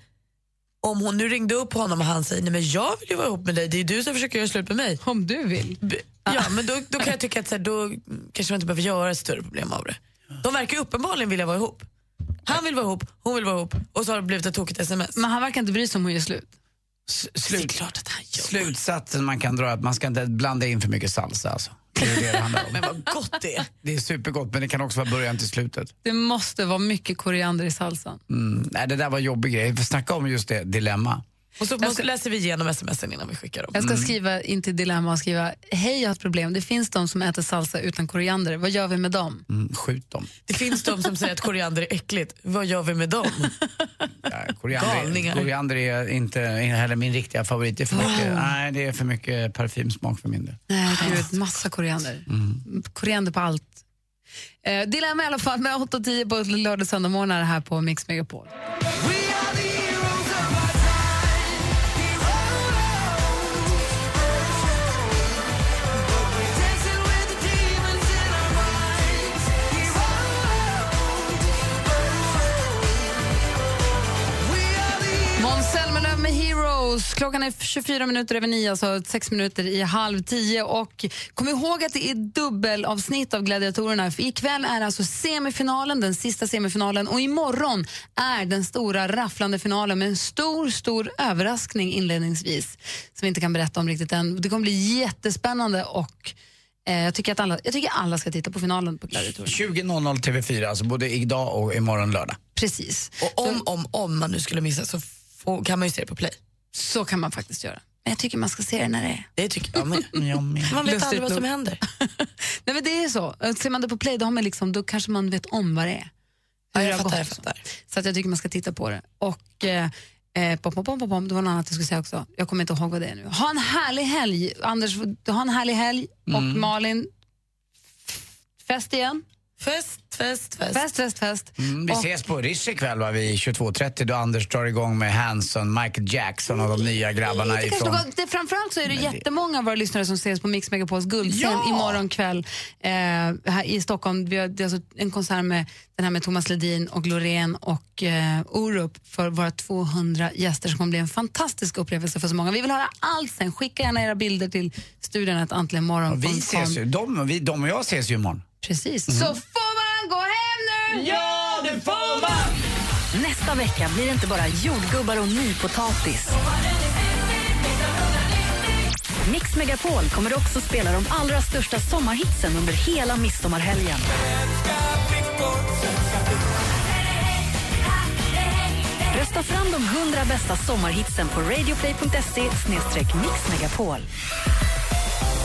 [SPEAKER 8] om hon nu ringde upp honom och han säger nej men jag vill ju vara ihop med dig, det är du som försöker göra slut med mig.
[SPEAKER 5] Om du vill.
[SPEAKER 8] Ja, men då, då kan jag tycka att så här, då kanske man inte behöver göra ett större problem av det. De verkar ju uppenbarligen vilja vara ihop. Han vill vara ihop, hon vill vara ihop och så har det blivit ett tokigt sms.
[SPEAKER 5] Men han verkar inte bry sig om hon gör slut.
[SPEAKER 6] Slut. Slutsatsen man kan dra är att man ska inte blanda in för mycket salsa alltså. Det är det det handlar om.
[SPEAKER 8] Men vad gott det är.
[SPEAKER 6] Det är supergott men det kan också vara början till slutet.
[SPEAKER 5] Det måste vara mycket koriander i salsan.
[SPEAKER 6] Mm. Nej, det där var en jobbig grej. Snacka om just det, dilemma.
[SPEAKER 8] Och så
[SPEAKER 5] Jag
[SPEAKER 8] måste,
[SPEAKER 5] ska-
[SPEAKER 8] läser vi igenom smsen innan vi skickar dem.
[SPEAKER 5] Jag ska skriva in till Dilemma och skriva Hej, jag har ett problem. Det finns de som äter salsa utan koriander. Vad gör vi med dem?
[SPEAKER 6] Mm, skjut dem.
[SPEAKER 8] Det finns de som säger att koriander är äckligt. Vad gör vi med dem?
[SPEAKER 6] Koriander,
[SPEAKER 8] Galningar.
[SPEAKER 6] koriander är inte heller min riktiga favorit. Det är för
[SPEAKER 5] Wow.
[SPEAKER 6] mycket, nej, det är för mycket parfymsmak för min del.
[SPEAKER 5] Nej, gud, massa koriander. Koriander på allt. Eh, dilemma i alla fall med 8-10 på lördag och söndag morgnar här på Mix Megapol. Måns Zelmerlöw med Heroes. Klockan är 24 minuter över nio, alltså sex minuter i halv tio. Och kom ihåg att det är dubbelavsnitt av Gladiatorerna. För ikväll är alltså semifinalen, den sista semifinalen. Och imorgon är den stora rafflande finalen med en stor, stor överraskning inledningsvis som vi inte kan berätta om riktigt än. Det kommer bli jättespännande och eh, jag, tycker att alla, jag tycker alla ska titta på finalen på Gladiatorerna.
[SPEAKER 6] 20.00 TV4, alltså både idag och imorgon lördag.
[SPEAKER 5] Precis.
[SPEAKER 8] Och om, om, om man nu skulle missa så får, kan man ju se det på play.
[SPEAKER 5] Så kan man faktiskt göra. Men jag tycker man ska se det när det är.
[SPEAKER 8] Det tycker jag med.
[SPEAKER 6] Mm,
[SPEAKER 8] Man vet
[SPEAKER 5] Lustigt
[SPEAKER 8] aldrig vad som
[SPEAKER 5] nog.
[SPEAKER 8] händer.
[SPEAKER 5] Nej, men det är så. Ser man det på play då, har man liksom, då kanske man vet om vad det är. Hur det har gått och så. Så att jag tycker man ska titta på det. Och eh, eh, pom, pom, pom, pom, pom, det var något annat jag skulle säga också. Jag kommer inte ihåg vad det är nu. Ha en härlig helg, Anders. Ha en härlig helg. Och
[SPEAKER 8] Mm.
[SPEAKER 5] Malin, f- fest igen.
[SPEAKER 8] Fest, fest, fest.
[SPEAKER 5] Fest, fest, fest.
[SPEAKER 6] Mm, vi
[SPEAKER 5] Och-
[SPEAKER 6] ses på Riche ikväll va, vid 22.30 då Anders drar igång med Hanson, Michael Jackson och de nya grabbarna
[SPEAKER 5] Det kanske
[SPEAKER 6] ifrån...
[SPEAKER 5] något- det, framförallt så är det jättemånga av våra lyssnare som ses på Mix Megapols guldscen
[SPEAKER 6] Ja!
[SPEAKER 5] imorgon kväll eh, här i Stockholm. Vi har, det är alltså en konsert med, den här med Thomas Ledin och Loreen och eh, Orup för våra 200 gäster som kommer bli en fantastisk upplevelse för så många. Vi vill höra allt sen. Skicka gärna era bilder till studion att antligen morgon.
[SPEAKER 6] Och vi ses ju, Mm. de, vi, de och jag ses ju imorgon.
[SPEAKER 5] Precis. Så får man gå hem nu!
[SPEAKER 1] Ja, det får man! Nästa vecka blir det inte bara jordgubbar och nypotatis. Mix Megapol kommer också spela de allra största sommarhitsen under hela midsommarhelgen. Rösta fram de 100 bästa sommarhitsen på radioplay.se mixmegapol.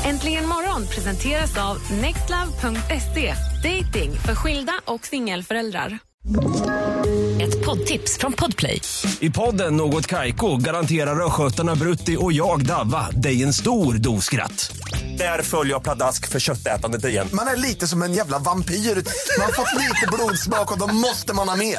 [SPEAKER 12] Äntligen morgon presenteras av nextlove.se. Dating för skilda och singelföräldrar.
[SPEAKER 3] Ett poddtips från Podplay.
[SPEAKER 9] I podden Något Kaiko garanterar östgötarna Brutti och jag, Davva, dig en stor dos skratt. Där följer jag pladask för köttätandet igen.
[SPEAKER 23] Man är lite som en jävla vampyr. Man har fått lite blodsmak och då måste man ha mer.